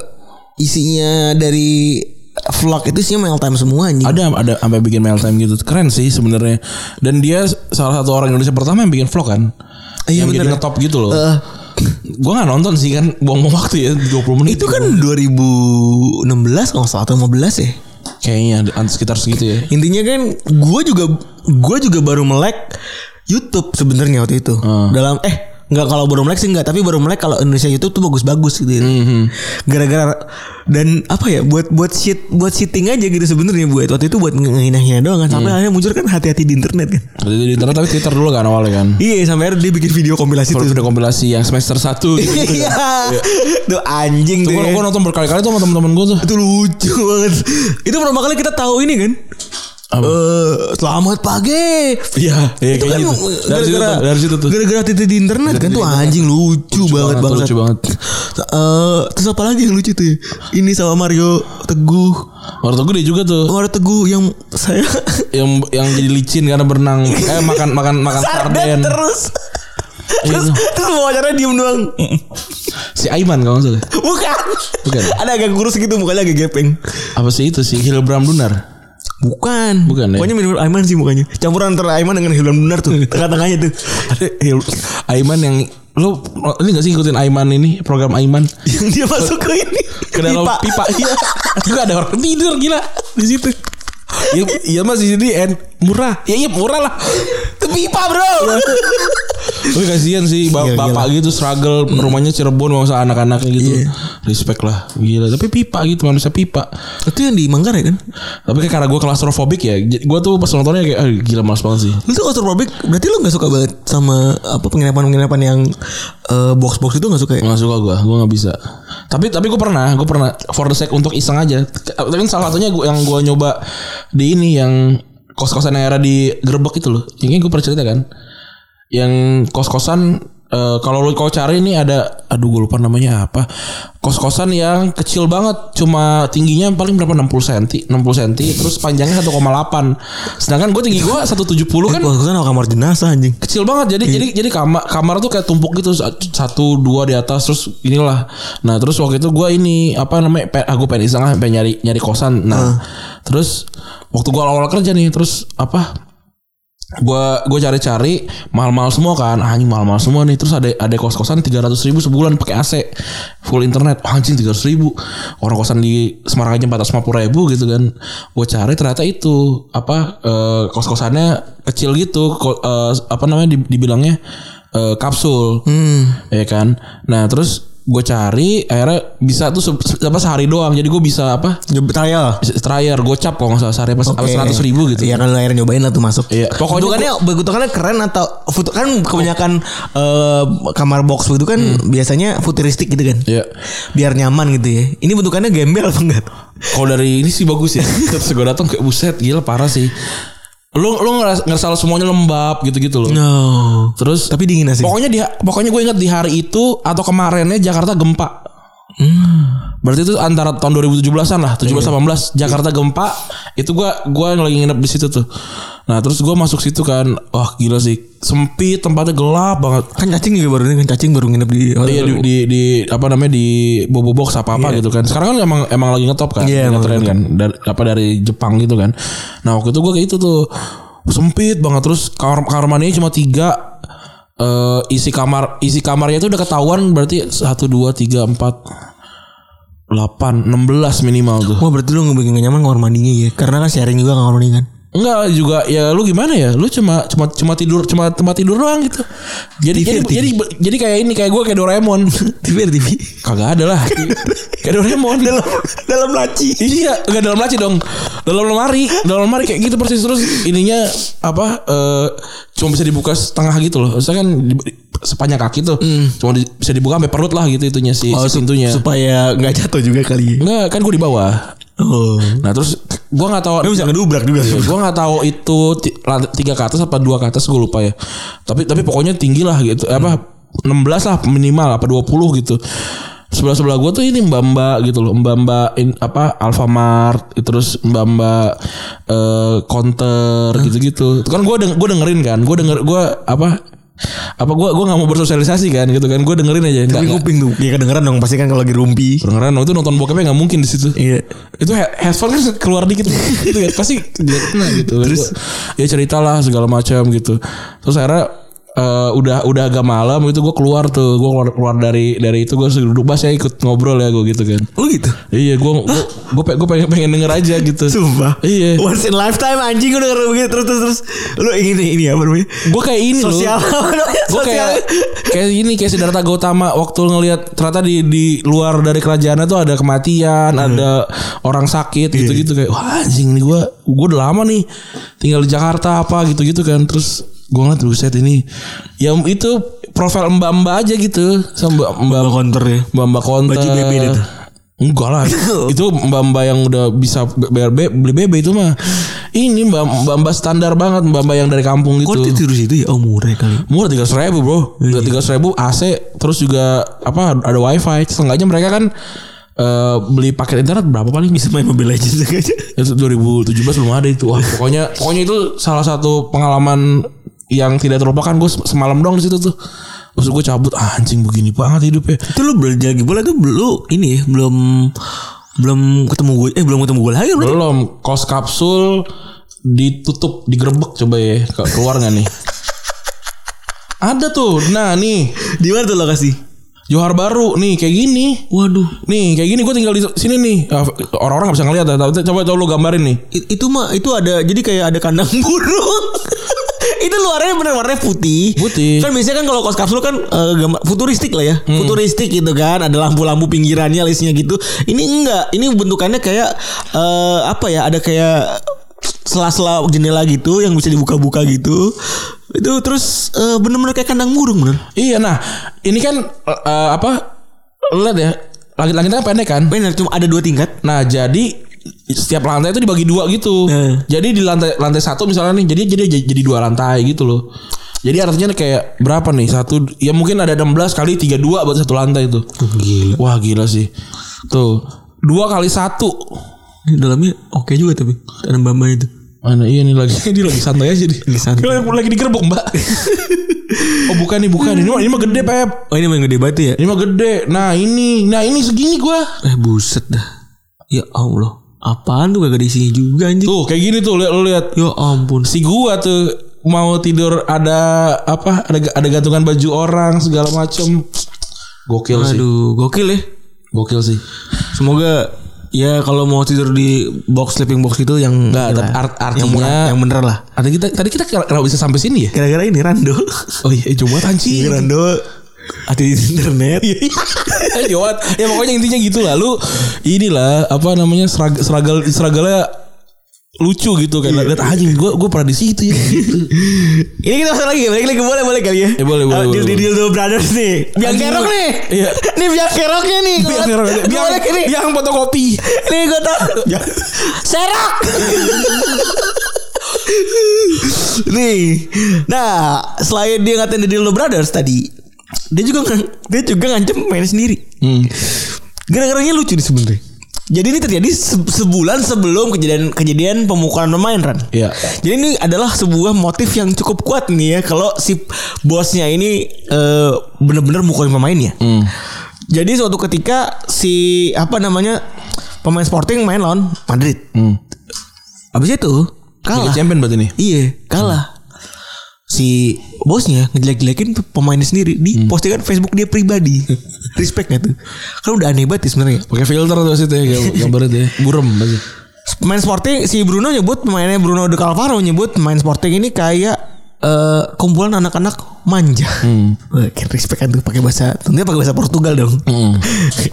S3: isinya dari vlog itu isinya mail time semua anjing.
S2: ada ada sampai bikin mail time gitu keren sih sebenarnya dan dia salah satu orang Indonesia pertama yang bikin vlog kan
S3: Iya,
S2: yang
S3: bener.
S2: jadi ngetop gitu loh
S3: Eh,
S2: Gua nggak nonton sih kan buang-buang waktu ya 20 menit
S3: itu kan 2016 kalau nggak salah atau 15 ya.
S2: kayaknya ada- sekitar segitu ya
S3: Intinya kan gue juga gue juga baru melek YouTube sebenarnya waktu itu. Dalam eh nggak kalau baru melek sih nggak tapi baru melek kalau Indonesia YouTube tuh bagus-bagus gitu. Gara-gara dan apa ya buat buat shit buat shitting aja gitu sebenarnya buat waktu itu buat ngehina-hina doang kan sampai akhirnya muncul kan hati-hati di internet kan.
S2: Waktu itu di internet tapi Twitter dulu kan awalnya kan
S3: Iya sampai akhirnya dia bikin video kompilasi
S2: Kalau
S3: tuh.
S2: video kompilasi yang semester 1 gitu.
S3: *laughs* Iya. Tuh anjing
S2: Itu
S3: tuh.
S2: gua,
S3: ya.
S2: gua nonton berkali-kali tuh sama temen-temen gua tuh
S3: Itu lucu banget. Itu pertama kali kita tahu ini kan.
S2: Apa?
S3: Eh, selamat pagi.
S2: Iya Iya
S3: Itu
S2: kayak
S3: kan
S2: gitu Dari situ
S3: gara-gara
S2: tuh Dari situ tuh
S3: gara-gara titik di internet kan tuh anjing lucu, banget
S2: banget,
S3: banget.
S2: lucu banget.
S3: Eh, terus apa lagi yang lucu tuh? ya? Ini sama Mario Teguh.
S2: Waktu gue dia juga tuh
S3: Mario Teguh yang saya
S2: Yang yang jadi licin karena berenang Eh makan makan
S3: *laughs*
S2: makan sarden
S3: sarden terus.
S2: Iya,
S3: terus terus wawancara diem doang.
S2: Si Aiman kalau nggak salah
S3: Bukan.
S2: Bukan.
S3: Ada agak kurus gitu mukanya agak gepeng.
S2: Apa sih itu sih Hilbram Dunar
S3: Bukan.
S2: Bukan, ya?
S3: Pokoknya mirip Aiman sih mukanya. Campuran antara Aiman dengan Hilman Benar tuh. Tengah-tengahnya tuh.
S2: Aiman yang Lu ini gak sih ngikutin Aiman ini Program Aiman
S3: yang dia masuk ke ini.
S2: ke dalam pipa, iya *laughs* juga ada orang tidur gila di situ Iya, iya mas di sini en murah. Ya iya murah lah.
S3: Ke pipa, Bro.
S2: Tapi kasihan sih ba-
S3: Gila,
S2: bapak gitu struggle rumahnya Cirebon masa anak-anaknya gitu. Respect lah. Gila, tapi pipa gitu manusia pipa.
S3: Itu yang di Manggarai kan?
S2: Tapi kayak karena gue klastrofobik ya. j- Gue tuh pas nontonnya kayak "Ah, gila males banget sih.
S3: Lu tuh claustrophobic berarti lu gak suka banget sama apa penginapan-penginapan yang eh, box-box itu gak suka ya?
S2: Nggak suka gue, gue nggak bisa. Tapi tapi gue pernah, gue pernah for the sake untuk iseng aja. Tapi kan salah satunya gua, yang gue nyoba di ini yang kos-kosan era di Grebek itu loh. Ini gue pernah cerita kan. yang kos-kosan eh, kalau lu kau cari ini ada aduh gue lupa namanya apa. Kos-kosan yang kecil banget cuma tingginya paling berapa 60 cm, 60 cm terus panjangnya 1,8. Sedangkan gue tinggi gue 170 kan
S3: Wah, gue kan sama kamar jenazah anjing.
S2: kecil banget jadi jadi jadi kamar kamar tuh kayak tumpuk gitu satu dua di atas terus inilah nah terus waktu itu gua ini apa namanya pe, ah, aku pengen iseng lah pengen nyari nyari kosan nah terus waktu gua awal, awal kerja nih terus apa gua gua cari-cari mahal-mahal semua kan anjing mahal-mahal semua nih terus ada ada kos-kosan 300 ribu sebulan pakai AC full internet anjing 300 ribu orang kosan di Semarang aja 450 ribu gitu kan gua cari ternyata itu apa eh, kos-kosannya kecil gitu ko- eh, apa namanya di- dibilangnya eh, kapsul
S3: Hmm.
S2: ya kan nah terus gue cari akhirnya bisa tuh se- se- apa sehari doang jadi gue bisa apa
S3: Nyoba trial.
S2: trial gocap kalau nggak salah sehari apa
S3: Oke.
S2: seratus ribu gitu
S3: Iya kan lu akhirnya nyobain lah tuh masuk. kan
S2: Iya,
S3: ya,
S2: pokoknya
S3: Bentukannya bentukannya keren atau foto kan kebanyakan eh, kamar box itu kan biasanya futuristik gitu kan.
S2: Hmm. Iya.
S3: Biar nyaman gitu ya. Ini bentukannya gembel apa enggak?
S2: Kalau dari ini sih bagus ya. Terus gue datang kayak buset gila parah sih. Lu lu ngeras- ngerasa lu semuanya lembab gitu-gitu loh.
S3: No.
S2: Terus
S3: Tapi dingin sih.
S2: Iya. pokoknya di pokoknya gue ingat di hari itu atau kemarinnya Jakarta gempa.
S3: Hmm.
S2: Berarti itu antara tahun 2017-an lah,
S3: Iya.
S2: 17 18 Jakarta gempa itu gua gua lagi nginep di situ tuh. Nah, terus gua masuk situ kan, wah gila sih. Sempit, tempatnya gelap banget.
S3: Kan cacing juga baru ini kan cacing baru nginep di hotel.
S2: Iya di, di di apa namanya di bobo box apa apa gitu kan. Sekarang kan emang emang lagi ngetop kan, lagi
S3: Iya, emang
S2: ngetren kan dari apa dari Jepang gitu kan. Nah waktu itu gue kayak itu tuh sempit banget terus kamar kamar mandinya cuma tiga Eh, isi kamar isi kamarnya itu udah ketahuan berarti satu dua tiga empat delapan enam belas minimal tuh.
S3: Wah berarti lu ngebikin nggak nyaman kamar mandinya ya. Karena kan sharing juga kamar mandi
S2: *laughs*
S3: kan.
S2: Enggak juga ya lu gimana ya? Lu cuma cuma cuma tidur cuma tempat tidur doang gitu. Jadi jadi, jadi jadi kayak ini kayak gue kayak Doraemon. *laughs*
S3: TV TV.
S2: Kagak ada lah. kayak Doraemon dalam
S3: *laughs* Dalam laci.
S2: Iya, enggak dalam laci dong. Dalam lemari, dalam lemari kayak gitu persis terus ininya apa eh cuma bisa dibuka setengah gitu loh. Saya kan di- sepanjang kaki tuh. Cuma di- bisa dibuka sampai perut lah gitu itunya si,
S3: Oh,
S2: si pintunya.
S3: supaya nggak jatuh juga kali. ya.
S2: Enggak, kan gue di bawah.
S3: Oh.
S2: Nah, terus gua nggak tahu
S3: Tapi bisa ngedubrak juga.
S2: Ya, gua nggak tahu itu ti- lant- tiga ke atas apa dua ke atas gue lupa ya. Tapi tapi pokoknya tinggi lah gitu. Apa 16 lah minimal apa 20 gitu. Sebelah sebelah gua tuh ini mbak mbak gitu loh mbak mbak in, apa Alfamart terus mbak mbak eh, counter gitu gitu. Kan gua deng gua dengerin kan. Gua denger gua apa apa gua gua nggak mau bersosialisasi kan gitu kan. Gua dengerin aja. Nggak-
S3: Tapi
S2: nggak.
S3: kuping tuh. Ya kedengeran dong pasti kan kalau lagi rumpi.
S2: Dengeran waktu itu nonton bokepnya nggak mungkin di situ
S3: Iya.
S2: itu he- headphone kan keluar dikit
S3: *laughs*
S2: gitu kan pasti dia kena gitu terus ya ceritalah segala macam gitu terus akhirnya eh, udah udah agak malam itu gue keluar tuh gue keluar, keluar dari dari itu gue duduk bas ya ikut ngobrol ya gue gitu kan
S3: Lu gitu?
S2: iya gue gue gue pengen pengen denger aja gitu
S3: Sumpah.
S2: Iya.
S3: Once in lifetime anjing udah denger begitu terus terus terus. Lu ini ini apa namanya?
S2: gue kayak ini loh
S3: Sosial.
S2: gue
S3: Sosial.
S2: kayak kayak ini kayak Siddhartha Gautama waktu ngelihat ternyata di di luar dari kerajaan itu ada kematian
S3: Hmm.
S2: ada orang sakit
S3: Iya.
S2: gitu gitu kayak wah anjing nih gue gue udah lama nih tinggal di Jakarta apa gitu gitu kan terus gue ngeliat buset ini ya itu profil mbak mbak aja gitu sama mbak mbak
S3: Bawa konter ya.
S2: mbak mbak konter
S3: Baju BB deh tuh.
S2: Enggak
S3: *laughs*
S2: lah Itu mbak-mbak yang udah bisa bayar be- beli BB itu mah Ini mbak- mbak-mbak standar banget Mbak-mbak yang dari kampung gitu
S3: Kok dia tidur situ ya? Oh murah kali.
S2: murah tiga ribu bro tiga ribu AC terus juga apa ada wifi setengahnya mereka kan eh, beli paket internet berapa paling bisa
S3: Main Mobile Legends aja.
S2: itu 2017 belum ada itu wah pokoknya pokoknya itu salah satu pengalaman yang tidak terlupakan gue semalam dong di situ tuh terus gue cabut "Ah, anjing begini banget ya." hidupnya
S3: Itu lu belanja lagi bola tuh lu ini ya, belum belum ketemu gue eh belum ketemu gue lagi berarti.
S2: belum kos kapsul ditutup digerebek coba ya Ke- keluar nggak *laughs* nih ada tuh nah nih
S3: Di mana tuh lokasi?
S2: Johar Baru nih kayak gini
S3: Waduh.
S2: Nih kayak gini gue tinggal di sini nih Ah, orang-orang nggak bisa ngeliat ya, tapi coba coba lu gambarin nih.
S3: I- itu mah itu ada jadi kayak ada kandang *laughs* burung. itu luarnya bener warnanya putih.
S2: Putih.
S3: Kan biasanya kan kalau kos kapsul kan eh, gambar futuristik lah ya. Futuristik gitu kan, ada lampu-lampu pinggirannya listnya gitu. Ini enggak, ini bentukannya kayak eh, apa ya? Ada kayak sela-sela jendela gitu yang bisa dibuka-buka gitu. Itu terus eh, bener-bener kayak kandang burung bener.
S2: Iya nah ini kan eh, eh, apa lu lihat ya langit-langitnya kan pendek kan.
S3: Bener cuma ada dua tingkat.
S2: Nah jadi setiap lantai itu dibagi dua gitu.
S3: Hmm.
S2: Jadi di lantai lantai satu misalnya nih jadi jadi jadi dua lantai gitu loh. Jadi artinya kayak berapa nih? Satu ya mungkin ada 16 kali 32 buat satu lantai itu.
S3: Gila.
S2: Wah, gila sih. Tuh, dua kali satu.
S3: Ini dalamnya oke juga tapi tanam bamba itu.
S2: Mana iya nih lagi *laughs* dia lagi santai aja dia.
S3: Lagi santai.
S2: Dia Lagi, lagi digerebek, *laughs* Mbak. oh, bukan nih, bukan. Ini mah ini mah gede, Pep.
S3: Oh ini main gede banget tuh ya?
S2: Ini mah gede. Nah, ini. Nah, ini segini gua.
S3: Eh buset dah. Ya Allah. Apaan tuh gak ada isinya juga anjing.
S2: Tuh, kayak gini tuh, lihat lu lihat.
S3: Ya ampun.
S2: si gua tuh mau tidur ada apa ada ada gantungan baju orang segala macem gokil sih
S3: Aduh gokil ya.
S2: gokil sih
S3: Semoga ya kalau mau tidur di box sleeping box itu yang
S2: Nggak,
S3: inilah,
S2: tapi art-
S3: yang,
S2: artinya-
S3: murah- yang bener lah.
S2: ada kita tadi kita kira- kenapa bisa sampai sini ya
S3: Gara-gara ini Rando.
S2: oh iya coba anjing
S3: Rando Iya. ada di internet.
S2: *laughs* Jawat. ya pokoknya intinya gitu lah lu inilah apa namanya serag, seragal seragalnya lucu gitu kayak lihat anjing gua gua pernah di situ *laughs* ya gitu.
S3: Ini kita masuk lagi ya, balik lagi ke bola boleh kali ya?
S2: Ya, boleh, boleh,
S3: Ah, Deal
S2: boleh, boleh.
S3: di deal Dildo Brothers nih. Biang
S2: Anjing,
S3: kerok
S2: boleh.
S3: nih.
S2: *laughs* Iya.
S3: Nih biang keroknya nih. Gua-
S2: biang biang
S3: Gua balik
S2: biang,
S3: ini.
S2: biang fotokopi
S3: Nih gue tau. Serok. nih. Nah, selain dia ngatain The Dildo Brothers tadi, dia juga ngan- dia juga ngancem main sendiri.
S2: hmm.
S3: Gara-garanya lucu nih sebenarnya. Jadi ini terjadi se- sebulan sebelum kejadian kejadian pemukulan pemain Ran.
S2: Iya.
S3: Jadi ini adalah sebuah motif yang cukup kuat nih ya kalau si bosnya ini eh, bener-bener mukulin pemainnya.
S2: Hmm.
S3: Jadi suatu ketika si apa namanya pemain Sporting main lawan Madrid.
S2: hmm.
S3: Habis itu kalah.
S2: Liga champion berarti nih
S3: Iya, kalah. Si bosnya ngejelek-jelekin pemainnya sendiri di postingan Facebook dia pribadi. Respect gak tuh? Kan udah aneh banget ya sebenarnya.
S2: pakai filter tuh situ ya gambarnya tuh ya burem pasti
S3: Pemain Sporting si Bruno nyebut pemainnya Bruno De Calvaro nyebut pemain Sporting ini kayak eh, kumpulan anak-anak manja. Wah, Kayak respect kan tuh pakai bahasa tentunya pakai bahasa Portugal dong.
S2: Hmm.
S3: *laughs*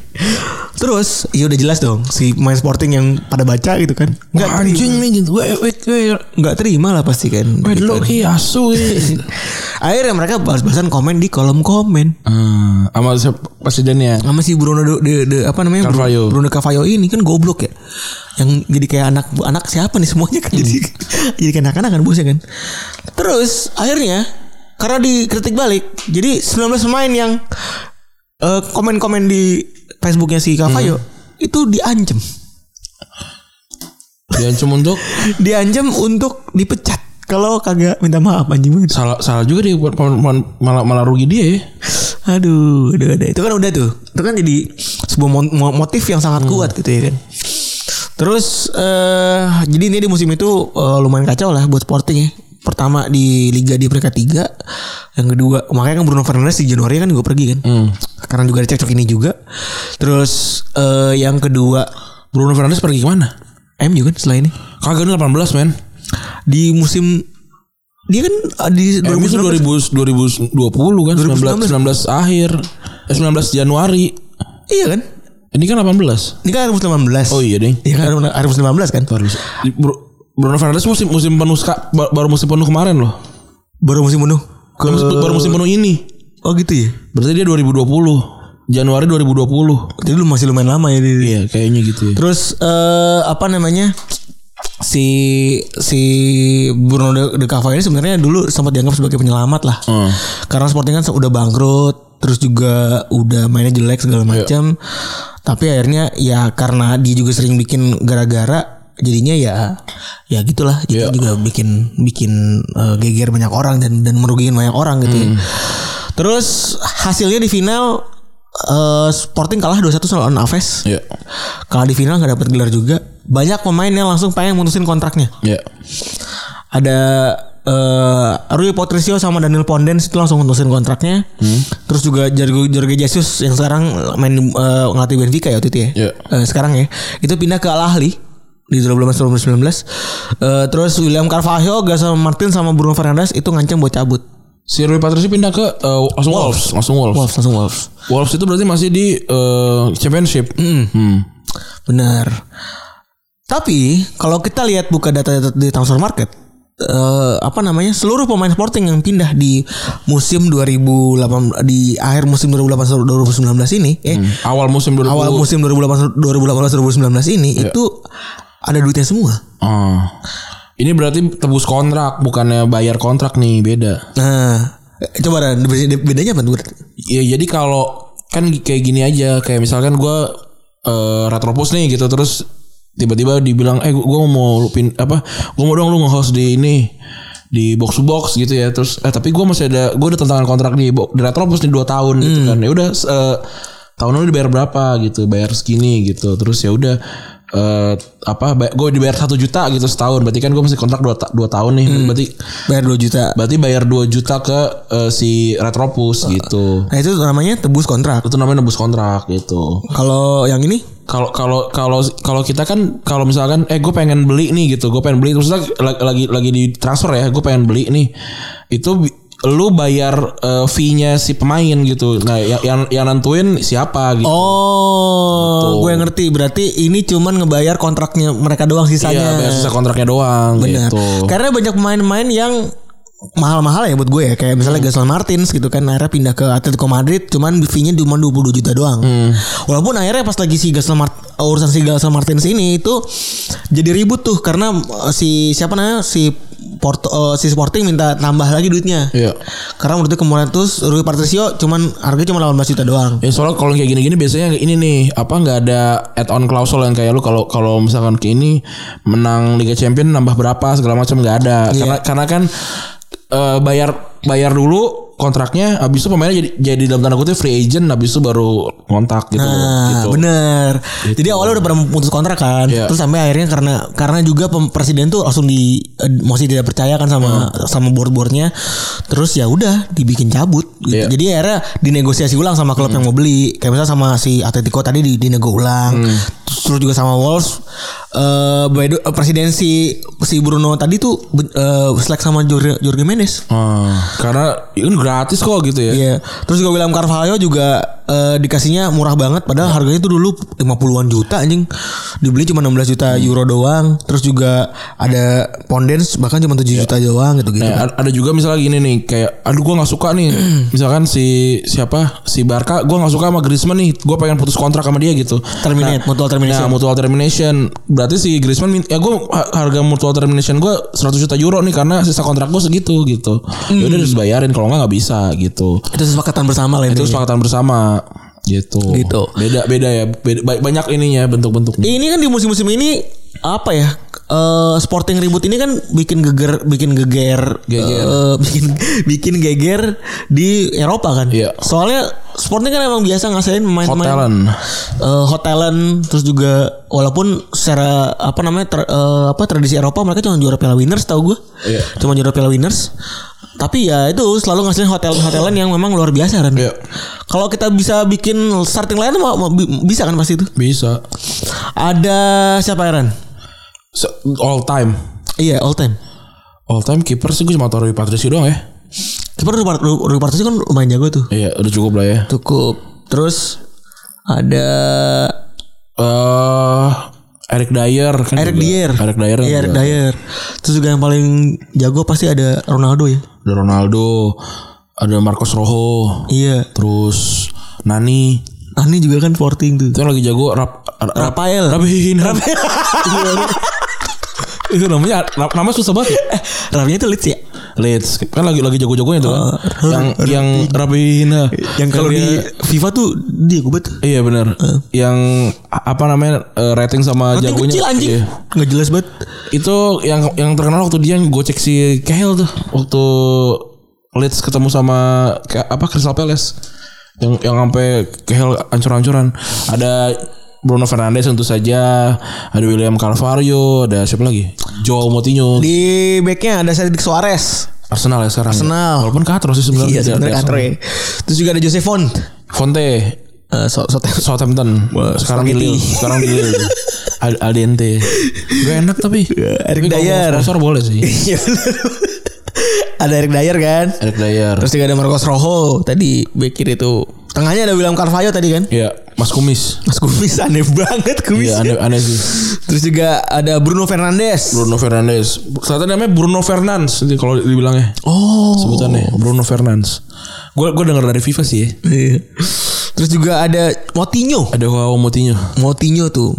S3: Terus ya udah jelas dong si pemain Sporting yang pada baca gitu kan. Enggak
S2: anjing nih gitu. Wait, wait, wait.
S3: nggak terima lah pasti kan.
S2: Wait,
S3: Gitu.
S2: lo ki asu eh. *laughs*
S3: Akhirnya mereka balas-balasan komen di kolom komen.
S2: Ah, sama siapa presidennya.
S3: sama si Bruno de, de- de- apa namanya
S2: Carvalho.
S3: Bruno Carvalho ini kan goblok ya yang jadi kayak anak anak siapa nih semuanya kan jadi *laughs* jadi kayak anak-anak kan bosnya kan terus akhirnya karena dikritik balik jadi 19 pemain yang eh, komen-komen di Facebooknya si Carvalho itu diancam *laughs*
S2: Dia cuma untuk
S3: diancam untuk dipecat kalau kagak minta maaf anjing banget
S2: salah salah juga dia buat pemain- pemain- malah malah rugi dia ya.
S3: Aduh, udah ada. Itu kan udah tuh. Itu kan jadi sebuah mo- mo- motif yang sangat
S2: Hmm.
S3: kuat gitu ya kan. Terus eh jadi ini di musim itu eh, lumayan kacau lah buat Sporting ya. Pertama di Liga di peringkat 3 Yang kedua Makanya kan Bruno Fernandes di Januari kan gue pergi kan
S2: Hmm.
S3: Karena juga ada cekcok ini juga Terus eh yang kedua
S2: Bruno Fernandes pergi kemana?
S3: MU kan setelah ini
S2: Kagak ini 18 men.
S3: Di musim Dia kan eh, di
S2: MU itu
S3: 2019.
S2: 2000 2020 kan 19 19 akhir. Eh, 19 Januari.
S3: Iya kan
S2: Ini kan 18.
S3: Ini kan 2018
S2: Oh iya deh.
S3: Iya kan 2019 kan
S2: Bruno Fernandes musim musim penuh ska- ba- baru musim penuh kemarin loh.
S3: Baru musim penuh
S2: Baru musim- baru musim penuh ini.
S3: Oh gitu ya.
S2: Berarti dia 2020. Januari 2020.
S3: Jadi lu masih lumayan lama ya. Didi.
S2: Iya, kayaknya gitu ya.
S3: Terus eh, apa namanya? Si si Bruno de, de Cava ini sebenarnya dulu sempat dianggap sebagai penyelamat lah.
S2: Hmm.
S3: Karena Sporting kan udah bangkrut, terus juga udah mainnya jelek segala
S2: Iya.
S3: macam. Tapi akhirnya ya karena dia juga sering bikin gara-gara jadinya ya ya gitulah jadi
S2: Iya.
S3: juga bikin bikin eh, geger banyak orang dan dan merugikan banyak orang gitu
S2: Hmm.
S3: ya. Terus hasilnya di final eh, Sporting kalah 2-1 lawan Aves.
S2: Iya.
S3: Kalah di final nggak dapat gelar juga. Banyak pemain yang langsung pengen mutusin kontraknya.
S2: Iya.
S3: Ada eh, Rui Patricio sama Daniel Pondens itu langsung mutusin kontraknya. Terus juga Jorge, Jorge Jesus yang sekarang main di- eh, ngelatih Benfica ya waktu itu ya.
S2: Iya.
S3: Eh, sekarang ya. Itu pindah ke Al Ahly di 2019 2019. Eh, terus William Carvalho, Gasol Martin sama Bruno Fernandes itu ngancam buat cabut.
S2: Si Rui Patricio pindah ke eh, langsung Wolves. langsung Wolves. Wolves.
S3: Wolves langsung Wolves.
S2: itu berarti masih di eh, Championship. Hmm.
S3: Benar. Tapi kalau kita lihat buka data-data di transfer market, eh, apa namanya seluruh pemain Sporting yang pindah di musim 2008 di akhir musim 2018 2019 ini, eh
S2: Awal musim 2020.
S3: awal musim 2018 2018 2019 ini itu ada duitnya semua.
S2: Ah. Ini berarti tebus kontrak, bukannya bayar kontrak nih, beda.
S3: Nah, eh, coba Ran, beda- bedanya apa tuh? Ran?
S2: Ya jadi kalau kan kayak gini aja, kayak misalkan gua eh, retropus nih gitu terus tiba-tiba dibilang eh gua- gua mau lu pin apa? Gua mau dong lu nge-host di ini di box to box gitu ya terus eh tapi gua masih ada gua ada tantangan kontrak di, bo- di retropus nih 2 tahun gitu kan ya udah eh, tahun lalu dibayar berapa gitu bayar segini gitu terus ya udah eh, apa gue dibayar satu juta gitu setahun berarti kan gue masih kontrak 2 dua tahun nih berarti
S3: Bayar 2 juta.
S2: Berarti bayar 2 juta ke eh, si Retropus gitu.
S3: Nah, itu namanya tebus kontrak.
S2: Itu namanya nebus kontrak gitu.
S3: Kalau yang ini
S2: Kalau kalau kalau kalau kita kan kalau misalkan eh gue pengen beli nih gitu, gue pengen beli terus lagi lagi lagi di transfer ya, gue pengen beli nih. Itu bi- lu bayar eh, fee-nya si pemain gitu. Nah, yang yang, yang nentuin siapa gitu.
S3: Oh, gue ngerti. Berarti ini cuman ngebayar kontraknya mereka doang
S2: Iya,
S3: sisanya.
S2: bayar sisa kontraknya doang
S3: Oh, Benar.
S2: gitu.
S3: Karena banyak pemain-pemain yang mahal-mahal ya buat gue ya kayak
S2: Hmm.
S3: misalnya Gasol Martins gitu kan akhirnya pindah ke Atletico Madrid cuman fee-nya cuma 22 juta doang.
S2: Hmm.
S3: Walaupun akhirnya pas lagi si Gasol Mart urusan si Gasol Martins ini itu jadi ribut tuh karena eh, si siapa namanya si Porto eh, si Sporting minta tambah lagi duitnya.
S2: Iya.
S3: Karena menurut gue kemarin terus Rui Patricio cuman harganya cuma 18 juta doang.
S2: Ya soalnya kalau kayak gini-gini biasanya ini nih apa nggak ada add on klausul yang kayak lu kalau kalau misalkan ke ini menang Liga Champion nambah berapa segala macam nggak ada
S3: Iya.
S2: karena karena kan eh, bayar bayar dulu kontraknya habis itu pemainnya jadi jadi dalam tanda kutip free agent habis itu baru kontak gitu
S3: Nah,
S2: gitu.
S3: bener. Jadi awalnya udah pernah putus kontrak kan,
S2: Iya.
S3: terus sampai akhirnya karena karena juga pem- presiden tuh langsung di eh, masih tidak percaya kan sama
S2: Hmm.
S3: sama board-boardnya, terus ya udah dibikin cabut. Gitu.
S2: Iya. Hmm.
S3: Jadi akhirnya dinegosiasi ulang sama klub yang mau beli, kayak misalnya sama si Atletico tadi di dinego ulang,
S2: Hmm.
S3: terus juga sama Wolves. Eh, by the- eh, presiden si si Bruno tadi tuh ben- eh, selek sama Jorge, Jorge Mendes.
S2: Ah, karena ini gratis kok gitu ya.
S3: Iya. Terus juga William Carvalho juga eh, dikasihnya murah banget padahal harganya itu dulu 50-an juta anjing. Dibeli cuma 16 juta
S2: Hmm.
S3: euro doang. Terus juga ada Pondens bahkan cuma 7
S2: Iya.
S3: juta doang gitu-gitu.
S2: Nah, ad- ada juga misalnya gini nih kayak aduh gua nggak suka
S3: *clears throat*
S2: nih misalkan si siapa si Barca gua nggak suka sama Griezmann nih gua pengen putus kontrak sama dia gitu
S3: Terminate, mutual termination.
S2: Nah, mutual termination. Berarti si Griezmann min- ya gue harga mutual termination gue 100 juta euro nih karena sisa kontrak gue segitu gitu. Ya
S3: Hmm.
S2: udah harus bayarin kalau nggak nggak bisa gitu.
S3: Itu kesepakatan bersama lah
S2: Itu
S3: itu.
S2: kesepakatan bersama gitu.
S3: Iya, Gitu.
S2: Beda beda ya. Beda- ba- banyak ininya bentuk-bentuknya.
S3: Ini kan di musim-musim ini apa ya? eh, sporting ribut ini kan bikin geger bikin geger
S2: Geger.
S3: eh, bikin bikin geger di Eropa kan.
S2: Iya.
S3: Soalnya Sporting kan emang biasa ngasain pemain-pemain
S2: Hotelan.
S3: eh hotelan terus juga walaupun secara apa namanya ter- eh, apa tradisi Eropa mereka cuma juara Piala Winners tahu gue
S2: Iya.
S3: cuma juara Piala Winners tapi ya itu selalu ngasihin hotel-hotelan yang memang luar biasa kan
S2: Iya.
S3: kalau kita bisa bikin starting line mau, mau- bi- bisa kan pasti itu
S2: Bisa.
S3: ada siapa Aaron
S2: Se- All time.
S3: iya all time
S2: All time kiper sih gue cuma taruh di Patricio doang ya.
S3: kiper Rui Part- Rui Rui Patricio kan lumayan jago tuh
S2: Iya, udah cukup lah ya.
S3: cukup terus ada
S2: Eh Eric Dyer kan
S3: Eric
S2: juga.
S3: Dier
S2: Eric Dyer
S3: Iya, Eric
S2: juga.
S3: Dier terus juga yang paling jago pasti ada Ronaldo ya
S2: Ada Ronaldo, ada Marcos Rojo,
S3: iya
S2: terus Nani.
S3: Ani juga kan sporting tuh.
S2: Itu yang lagi jago rap, rap,
S3: Rafael.
S2: Rabihin.
S3: *laughs*
S2: itu namanya rap, nama susah banget ya.
S3: Rafinya itu Leeds ya?
S2: Leeds kan lagi lagi jago-jagonya tuh kan. yang yang Rabihin.
S3: Ah, Yang kalau di FIFA tuh dia gue tuh.
S2: Iya benar. Yang a- apa namanya eh, rating sama
S3: Rating
S2: jagonya.
S3: kecil anjing.
S2: Iya.
S3: Nggak jelas banget.
S2: Itu yang yang terkenal waktu dia gocek si Cahill tuh waktu Leeds ketemu sama ke- apa Crystal Palace yang yang sampai Cahill ancur-ancuran. Ada Bruno Fernandes tentu saja, ada William Carvalho, ada siapa lagi? Joao Moutinho.
S3: Di backnya ada Cedric Suarez.
S2: Arsenal ya sekarang.
S3: Arsenal.
S2: Walaupun katro sih sebenarnya.
S3: Iya
S2: Dia-
S3: sebenarnya
S2: dia
S3: katro
S2: Arsenal.
S3: ya. Terus juga ada Jose Font.
S2: Fonte
S3: Eh, so, so- *laughs*
S2: Southampton. sekarang di
S3: spaghetti.
S2: Lille, sekarang di Lille. Al, Al Dente. Gak enak tapi.
S3: Iya, Eric
S2: Tapi kalau
S3: Dyer.
S2: Sponsor boleh sih.
S3: Iya, bener. ada Eric Dyer kan.
S2: Eric Dyer.
S3: Terus juga ada Marcos Rojo tadi back kiri itu. Tengahnya ada William Carvalho tadi kan.
S2: Iya, Mas Kumis.
S3: Mas Kumis aneh banget Kumis.
S2: Iya, aneh, aneh sih.
S3: Terus juga ada Bruno Fernandes.
S2: Bruno Fernandes. Kelihatannya namanya Bruno Fernandes nanti kalau dibilangnya.
S3: Oh.
S2: Sebutannya Bruno Fernandes. Gue gue dengar dari FIFA sih ya.
S3: Iya. Terus juga ada Motinho.
S2: Ada Joao Moutinho.
S3: Motinho tuh.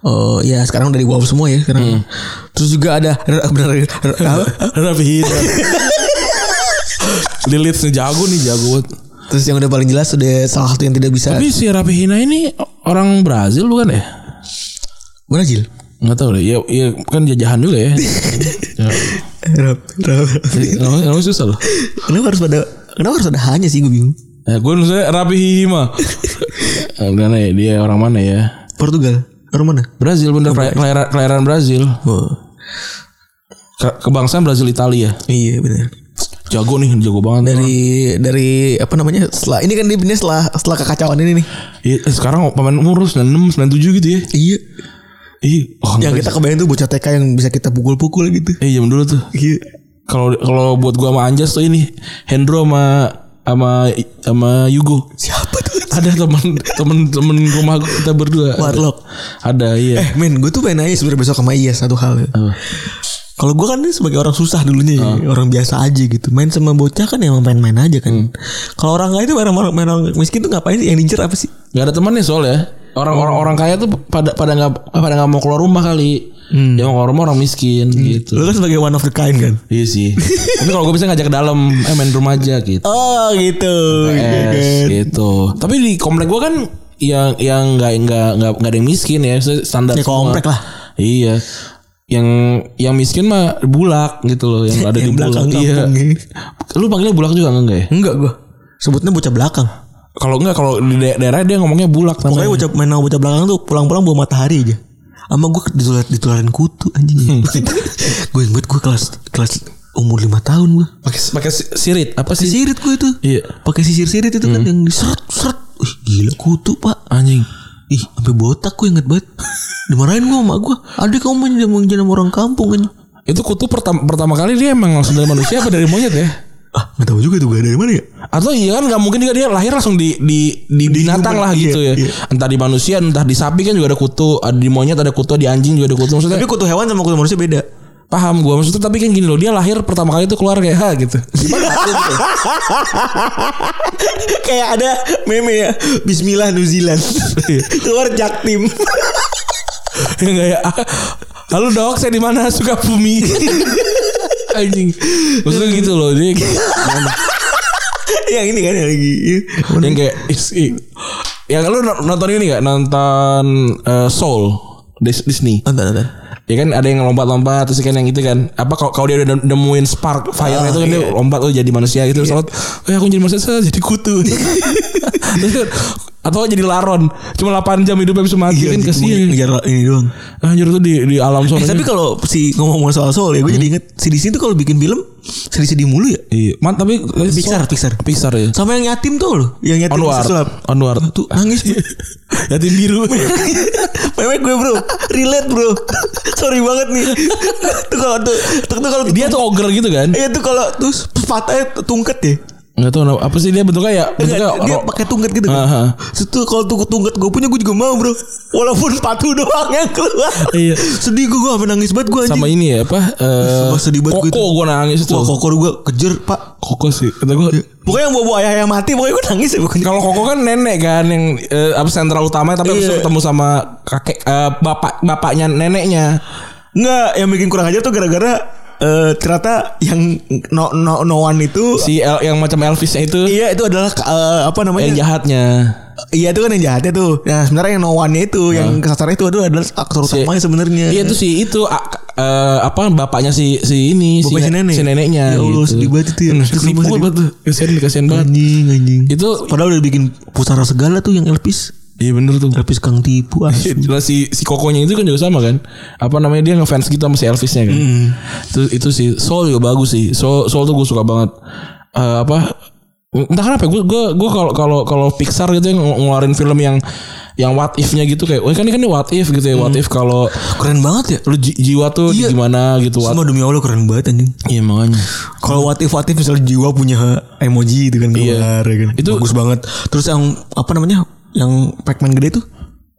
S3: eh, ya sekarang udah di wow semua ya sekarang. Terus juga ada *laughs* benar
S2: Rapi Hidra. Lilith nih jago nih jago. banget.
S3: Terus yang udah paling jelas udah salah satu yang tidak bisa.
S2: Tapi si Rapi Hina ini orang Brazil bukan ya?
S3: Mana Jil?
S2: Nggak tahu deh. Ya, ya kan jajahan juga *laughs* ya.
S3: Rap, rap.
S2: Namanya namanya susah loh.
S3: Kenapa harus pada kenapa harus ada hanya sih gue bingung.
S2: Ya, gue nulisnya Rapi Hima. Gimana ya dia orang mana ya?
S3: Portugal. Orang mana?
S2: Brazil bener kelai- kelahiran, kelahiran Brazil.
S3: Oh.
S2: Ke- Kebangsaan Brazil Italia.
S3: Iya benar.
S2: Jago nih, jago banget.
S3: Dari dari apa namanya? Setelah ini kan dia pindah setelah setelah kekacauan ini nih.
S2: Iya, eh, sekarang pemain umur 96, 97 gitu ya.
S3: Iya.
S2: Iya, oh,
S3: Yang kita kebayang tuh bocah TK yang bisa kita pukul-pukul gitu.
S2: Iya, zaman dulu tuh.
S3: Iya.
S2: Kalau kalau buat gua sama Anjas tuh ini Hendro sama sama sama Yugo.
S3: Siapa tuh?
S2: Ada teman teman teman rumah kita berdua.
S3: Warlock.
S2: Ada iya.
S3: Eh men gue tuh pengen nanya sebenernya besok sama Iya satu hal ya. Kalau gue kan sebagai orang susah dulunya
S2: Ah.
S3: ya, orang biasa aja gitu. Main sama bocah kan emang main-main aja
S2: Hmm.
S3: kan. Kalau orang kaya itu main sama orang, main orang miskin tuh ngapain sih? Yang diincer apa sih?
S2: Gak ada temannya soalnya. Orang-orang
S3: Oh.
S2: orang kaya tuh pada pada nggak pada nggak mau keluar rumah kali. Dia mau keluar rumah orang miskin gitu.
S3: Hmm. Lu kan sebagai one of the kind kan.
S2: Iya sih. Tapi kalau gue bisa ngajak ke dalam, eh main rumah aja gitu.
S3: Oh gitu. kan?
S2: Es, gitu. Tapi di komplek gue kan yang yang nggak nggak nggak nggak ada yang miskin ya, Maksudnya standar.
S3: Ya,
S2: semua.
S3: komplek lah.
S2: Iya. Yang yang miskin mah bulak gitu loh, yang
S3: *laughs*
S2: ada di
S3: Yang
S2: bulak.
S3: belakang
S2: Iya.
S3: kampung ini.
S2: Lu panggilnya bulak juga enggak, ya?
S3: Enggak gue. Sebutnya bocah belakang.
S2: Kalau enggak kalau di daer- daerah dia ngomongnya bulak namanya.
S3: Pokoknya bocah main sama bocah belakang tuh pulang-pulang bawa matahari aja. Sama gue ditular, ditularin kutu
S2: *laughs*
S3: anjing. gue inget gue kelas kelas umur 5 tahun gue.
S2: Pakai pakai si- sirit apa sih?
S3: Sisirit gue itu.
S2: Iya.
S3: Pakai sisir sirit itu kan yang diseret-seret. Ih, gila kutu, Pak.
S2: Anjing.
S3: Ih, sampai botak gue inget banget. *laughs* Dimarahin gue sama gue. Adik kamu main sama jangan sama orang kampung kan.
S2: Itu kutu pertama pertama kali dia emang langsung dari manusia apa dari monyet ya?
S3: Ah, gak tahu juga tuh gue dari mana ya?
S2: Atau iya kan nggak mungkin juga dia lahir langsung di di di binatang lah
S3: human, iya,
S2: gitu ya.
S3: iya.
S2: Entah di manusia, entah di sapi kan juga ada kutu, ada di monyet ada kutu, di anjing juga ada kutu. Maksudnya
S3: Tapi kutu hewan sama kutu manusia beda.
S2: paham gua maksudnya tapi kan gini loh, dia lahir pertama kali itu keluar kayak ha gitu. *laughs* Gimana maksudnya gitu?
S3: *laughs* Kayak ada meme ya. Bismillah New Zealand. Iya. *laughs* Keluar jaktim.
S2: Yang kayak "Ah, Halo dok, saya di mana? Suka bumi. *laughs* anjing. Maksudnya gitu loh, dia
S3: *laughs* yang ini kan yang lagi.
S2: yang kayak is- i- yang lu nonton ini gak? Nonton eh, Soul Dis- Disney.
S3: Nonton, nonton.
S2: Ya kan ada yang lompat-lompat terus kan yang itu kan apa kalau kalau dia udah nem- nemuin spark fire
S3: Ah,
S2: itu kan dia
S3: iya.
S2: lompat oh jadi manusia gitu terus eh aku jadi manusia saya jadi kutu. *laughs* Terus kan, atau jadi laron cuma 8 jam hidupnya bisa
S3: Iya,
S2: mati kan kasihan.
S3: Ngejar ini doang.
S2: Anjir tuh di di alam
S3: Eh,
S2: sana. gitu.
S3: tapi kalau si ngomong-ngomong soal soal ya gue jadi inget si Disney tuh kalau bikin film sedih-sedih mulu ya.
S2: Iya, man, tapi
S3: Pixar, Pixar.
S2: Pixar ya.
S3: Sama yang yatim tuh loh, yang yatim
S2: Onward,
S3: disulap. *laughs*
S2: onward.
S3: Tuh nangis.
S2: *laughs* Yatim biru.
S3: Meme gue bro, relate bro. *laughs* Sorry banget nih. *laughs* tuh kalau tuh, tuh, tuh kalau
S2: dia tuh ogre gitu kan?
S3: Iya tuh kalau tuh patahnya tungket ya.
S2: Enggak tahu kenapa- apa sih dia bentuknya ya bentuknya
S3: Enggak, dia
S2: ro-
S3: pakai tungket gitu.
S2: Aha.
S3: Kan? Terus tuh kalau tuh tungket gue punya gue juga mau bro. Walaupun patu *laughs* doang yang keluar.
S2: Iya.
S3: Sedih gue gue sampe nangis banget gue
S2: sama
S3: anjing.
S2: ini ya apa? eh,
S3: Sumpah sedih banget
S2: koko
S3: gue itu.
S2: gue nangis itu.
S3: Wah kokor gue kejer pak.
S2: Koko sih. Kata gue
S3: Pokoknya yang bawa ayah yang mati pokoknya gue nangis ya. Pokoknya.
S2: Kalau Koko kan nenek kan yang eh, apa sentral utama tapi habis itu
S3: Iya.
S2: ketemu sama kakek eh, bapak bapaknya neneknya.
S3: Enggak, yang bikin kurang ajar tuh gara-gara eh ternyata yang no no no one itu
S2: Si El- yang macam Elvisnya itu
S3: iya itu adalah eh, apa
S2: yang
S3: namanya?
S2: jahatnya.
S3: Iya itu kan yang jahatnya tuh. Nah, sebenarnya yang no one itu yang kesasarnya itu adalah adalah aktor utamanya sebenarnya.
S2: Ah. Iya itu si itu a- eh, apa bapaknya si si ini
S3: Bapaknya si nenek?
S2: neneknya.
S3: Ya Allah, sedih banget itu ya.
S2: Nah,
S3: Sedih
S2: Dipukul
S3: banget.
S2: banget tuh. Kasihan kasihan banget.
S3: anjing anjing.
S2: Itu
S3: Padahal udah bikin pusara segala tuh yang Elvis.
S2: iya bener tuh.
S3: Elvis
S2: *laughs*
S3: Kang Tipu asli.
S2: Nah, si si kokonya itu kan juga sama kan apa namanya dia ngefans gitu sama si Elvisnya kan
S3: Hmm.
S2: itu itu sih Soul juga bagus sih Soul Soul tuh gue suka banget Eh, apa entah kenapa ya, gue gue gue kalau kalau kalau Pixar gitu yang ngelu- ngeluarin film yang yang what if-nya gitu kayak wah kan ini kan ini what if gitu ya what if kalau
S3: Keren banget ya.
S2: lu ji- jiwa tuh
S3: Hmm. Iya.
S2: gimana gitu what
S3: Semua demi Allah keren banget anjing.
S2: iya makanya
S3: Kalau what if what if misalnya jiwa punya emoji itu kan keluar ya kan.
S2: Iya. Itu-
S3: bagus banget. Terus yang apa namanya? Yang Pac-Man gede tuh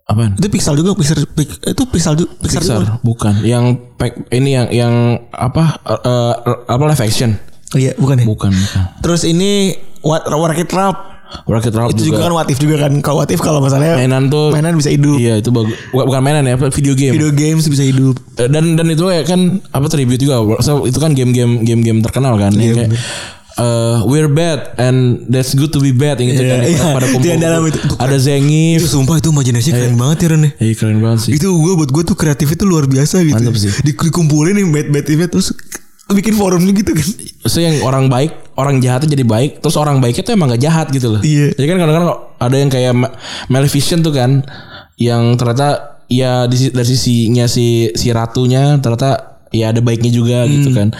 S2: apaan
S3: itu Pixar juga Pixar Pic- itu Pixar juga Pixar,
S2: Pixar
S3: juga.
S2: bukan yang pack- ini yang yang apa eh, eh, apa live action
S3: Iya, bukan ya?
S2: bukan bukan
S3: Terus ini What Rocket Rap.
S2: Rocket Ralph
S3: Itu juga kan watif juga kan. Kalau watif kalau masalahnya
S2: mainan tuh
S3: mainan bisa hidup.
S2: Iya itu bagus. Bukan bukan mainan ya, video game.
S3: Video games bisa hidup.
S2: Eh, dan dan itu ya kan apa tribute juga. So, itu kan game-game game-game terkenal kan. Yang kayak, eh, we're bad and that's good to be bad yang gitu
S3: Iya,
S2: kan
S3: iya.
S2: pada
S3: Di
S2: kumpul
S3: dalam itu.
S2: ada Zengif
S3: Itu sumpah itu imajinasinya keren banget ya Ren. ya.
S2: Iya keren banget sih
S3: Itu gue buat gue tuh kreatif itu luar biasa gitu.
S2: Mantap sih.
S3: Di- Dikumpulin nih bad bad event terus bikin forum gitu kan.
S2: Maksudnya yang orang baik Orang jahatnya jadi baik Terus orang baiknya tuh emang gak jahat gitu loh
S3: Iya.
S2: Jadi kan kadang-kadang ada yang kayak Ma- Maleficent tuh kan Yang ternyata Ya di si- dari sisinya si, si ratunya Ternyata ya ada baiknya juga
S3: Hmm.
S2: gitu kan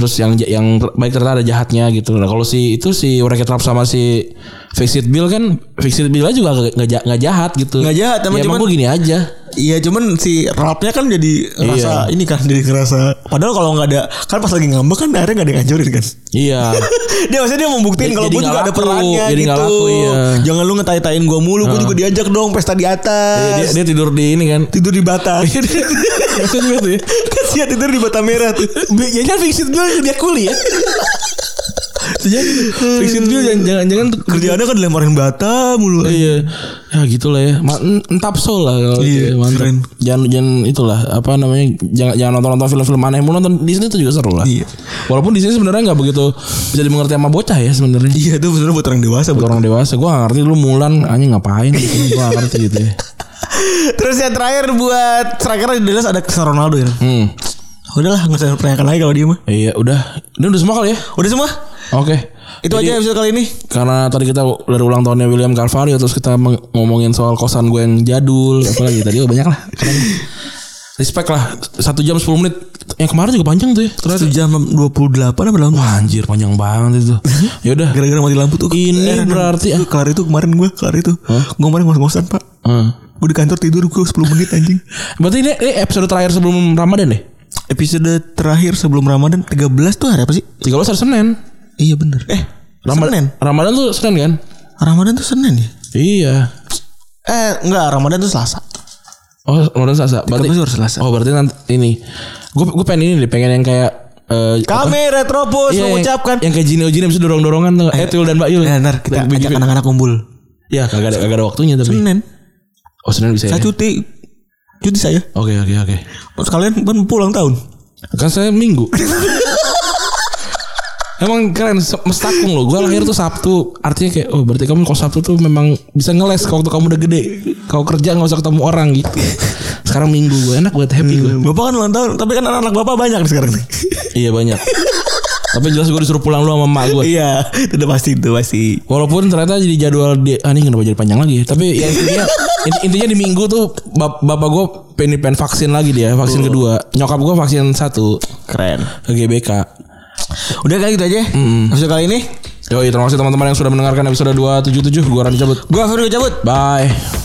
S2: Terus yang ja- yang ter- baik ternyata ada jahatnya gitu Nah kalau si itu si Rocket Rap sama si Fix It Bill kan Fix It Bill juga gak, gak, ja- gak jahat gitu
S3: Gak jahat,
S2: ya,
S3: emang
S2: emang
S3: cuman-
S2: gue gini aja
S3: Iya cuman si Ralph-nya kan jadi
S2: Iya.
S3: ngerasa ini kan jadi ngerasa padahal kalau nggak ada kan pas lagi ngambek kan akhirnya nggak ada yang ngancurin kan. *laughs*
S2: Iya
S3: dia maksudnya dia mau buktiin
S2: Jadi-
S3: kalau
S2: jadi
S3: gue juga
S2: nggak
S3: ada
S2: laku,
S3: perannya
S2: jadi
S3: gitu.
S2: nggak laku, iya.
S3: Jangan lu ngetai-tain gue mulu, gue juga diajak dong pesta di atas.
S2: Iya, dia, dia tidur di ini kan
S3: tidur di batas.
S2: Maksudnya
S3: *laughs*
S2: tuh ya
S3: Kasihan tidur di bata merah tuh.
S2: Ya kan fixed bill dia kuli ya. Sejak fixed bill jangan- jangan-jangan tuh kerja.
S3: Kerjaannya kan dilemparin bata mulu.
S2: Iya. Ya gitulah ya. Ma- en- Entap soul lah kalau
S3: Iya,
S2: gitu. Mantap.
S3: keren.
S2: Jangan jangan itulah apa namanya jangan jangan nonton-nonton film-film aneh mulu nonton Disney itu juga seru lah.
S3: Iya.
S2: Walaupun Disney sebenarnya nggak begitu bisa dimengerti sama bocah ya sebenarnya.
S3: Iya itu bener buat orang dewasa
S2: Buat
S3: buat
S2: orang dewasa gua gak ngerti lu Mulan anjing ngapain gitu. gua gak ngerti
S3: *laughs*
S2: gitu ya.
S3: *laughs* Terus yang terakhir buat striker di Dallas ada Cristiano Ronaldo ya.
S2: Hmm.
S3: Udahlah nggak usah pertanyakan lagi kalau dia mah.
S2: Iya, udah. Udah udah semua kali ya.
S3: Udah semua.
S2: Oke.
S3: Itu aja episode kali ini.
S2: karena tadi kita dari ulang tahunnya William Carvalho terus kita meng- ngomongin soal kosan gue yang jadul apalagi tadi oh, banyak lah Keren. respect lah satu jam 10 menit yang kemarin juga panjang tuh ya ternyata
S3: Satu jam 28 apa lama?
S2: Wah, anjir panjang banget itu
S3: Iya.
S2: ya udah
S3: Gara-gara mati lampu tuh.
S2: Ini
S3: Eh,
S2: berarti-
S3: eh, kelar itu kemarin gue kelar itu. Gue kemarin ngos-ngosan pak. Gue di kantor tidur gue 10 menit anjing.
S2: berarti ini, ini episode terakhir sebelum Ramadan ya? deh
S3: Episode terakhir sebelum Ramadan 13 tuh hari apa sih?
S2: 13 hari Senin
S3: Iya bener. Eh
S2: Ramadan
S3: Senin.
S2: Ramadan tuh Senin kan
S3: Ramadan tuh Senin ya?
S2: iya
S3: Eh enggak Ramadan tuh Selasa.
S2: oh Ramadan Selasa berarti
S3: 13 hari Selasa.
S2: oh berarti nanti ini gue gue pengen ini deh pengen yang kayak eh, apa?
S3: Kami Retropus
S2: Iya, yang-
S3: mengucapkan.
S2: yang kayak Jinio Jinio bisa dorong-dorongan tuh. Eh, Tuyul dan Mbak Yul.
S3: Nah, ntar kita
S2: Dan Bibi
S3: ajak
S2: juga.
S3: anak-anak kumpul.
S2: Ya kagak ada kagak ada waktunya tapi.
S3: Senin.
S2: Oh Senin bisa ya.
S3: Saya cuti. Cuti saya.
S2: Oke oke oke.
S3: Terus kalian kan pulang tahun.
S2: Kan saya
S3: *laughs*
S2: Minggu. Emang keren se- mestakung loh. Gua lahir tuh Sabtu. Artinya kayak oh berarti kamu kalau Sabtu tuh memang bisa ngeles kalau waktu kamu udah gede. Kau kerja nggak usah ketemu orang gitu. Sekarang Minggu gue enak buat happy gue.
S3: Bapak kan ulang tahun, tapi kan anak-anak bapak banyak nih sekarang nih.
S2: Iya
S3: *laughs*
S2: banyak. Tapi jelas gue disuruh pulang lu sama emak gue.
S3: iya, *laughs* itu udah pasti itu pasti.
S2: Walaupun ternyata jadi jadwal di ah, ini kenapa jadi panjang lagi ya. Tapi ya intinya inti- intinya di minggu tuh bap- bapak gue pengen pengen vaksin lagi dia,
S3: Oh.
S2: vaksin kedua. Nyokap gue vaksin satu
S3: Keren.
S2: ke GBK.
S3: Udah kayak gitu aja. Episode kali ini
S2: Yoi, terima kasih teman-teman yang sudah mendengarkan episode 277. Gua Randy cabut.
S3: gua Fahri cabut.
S2: Bye.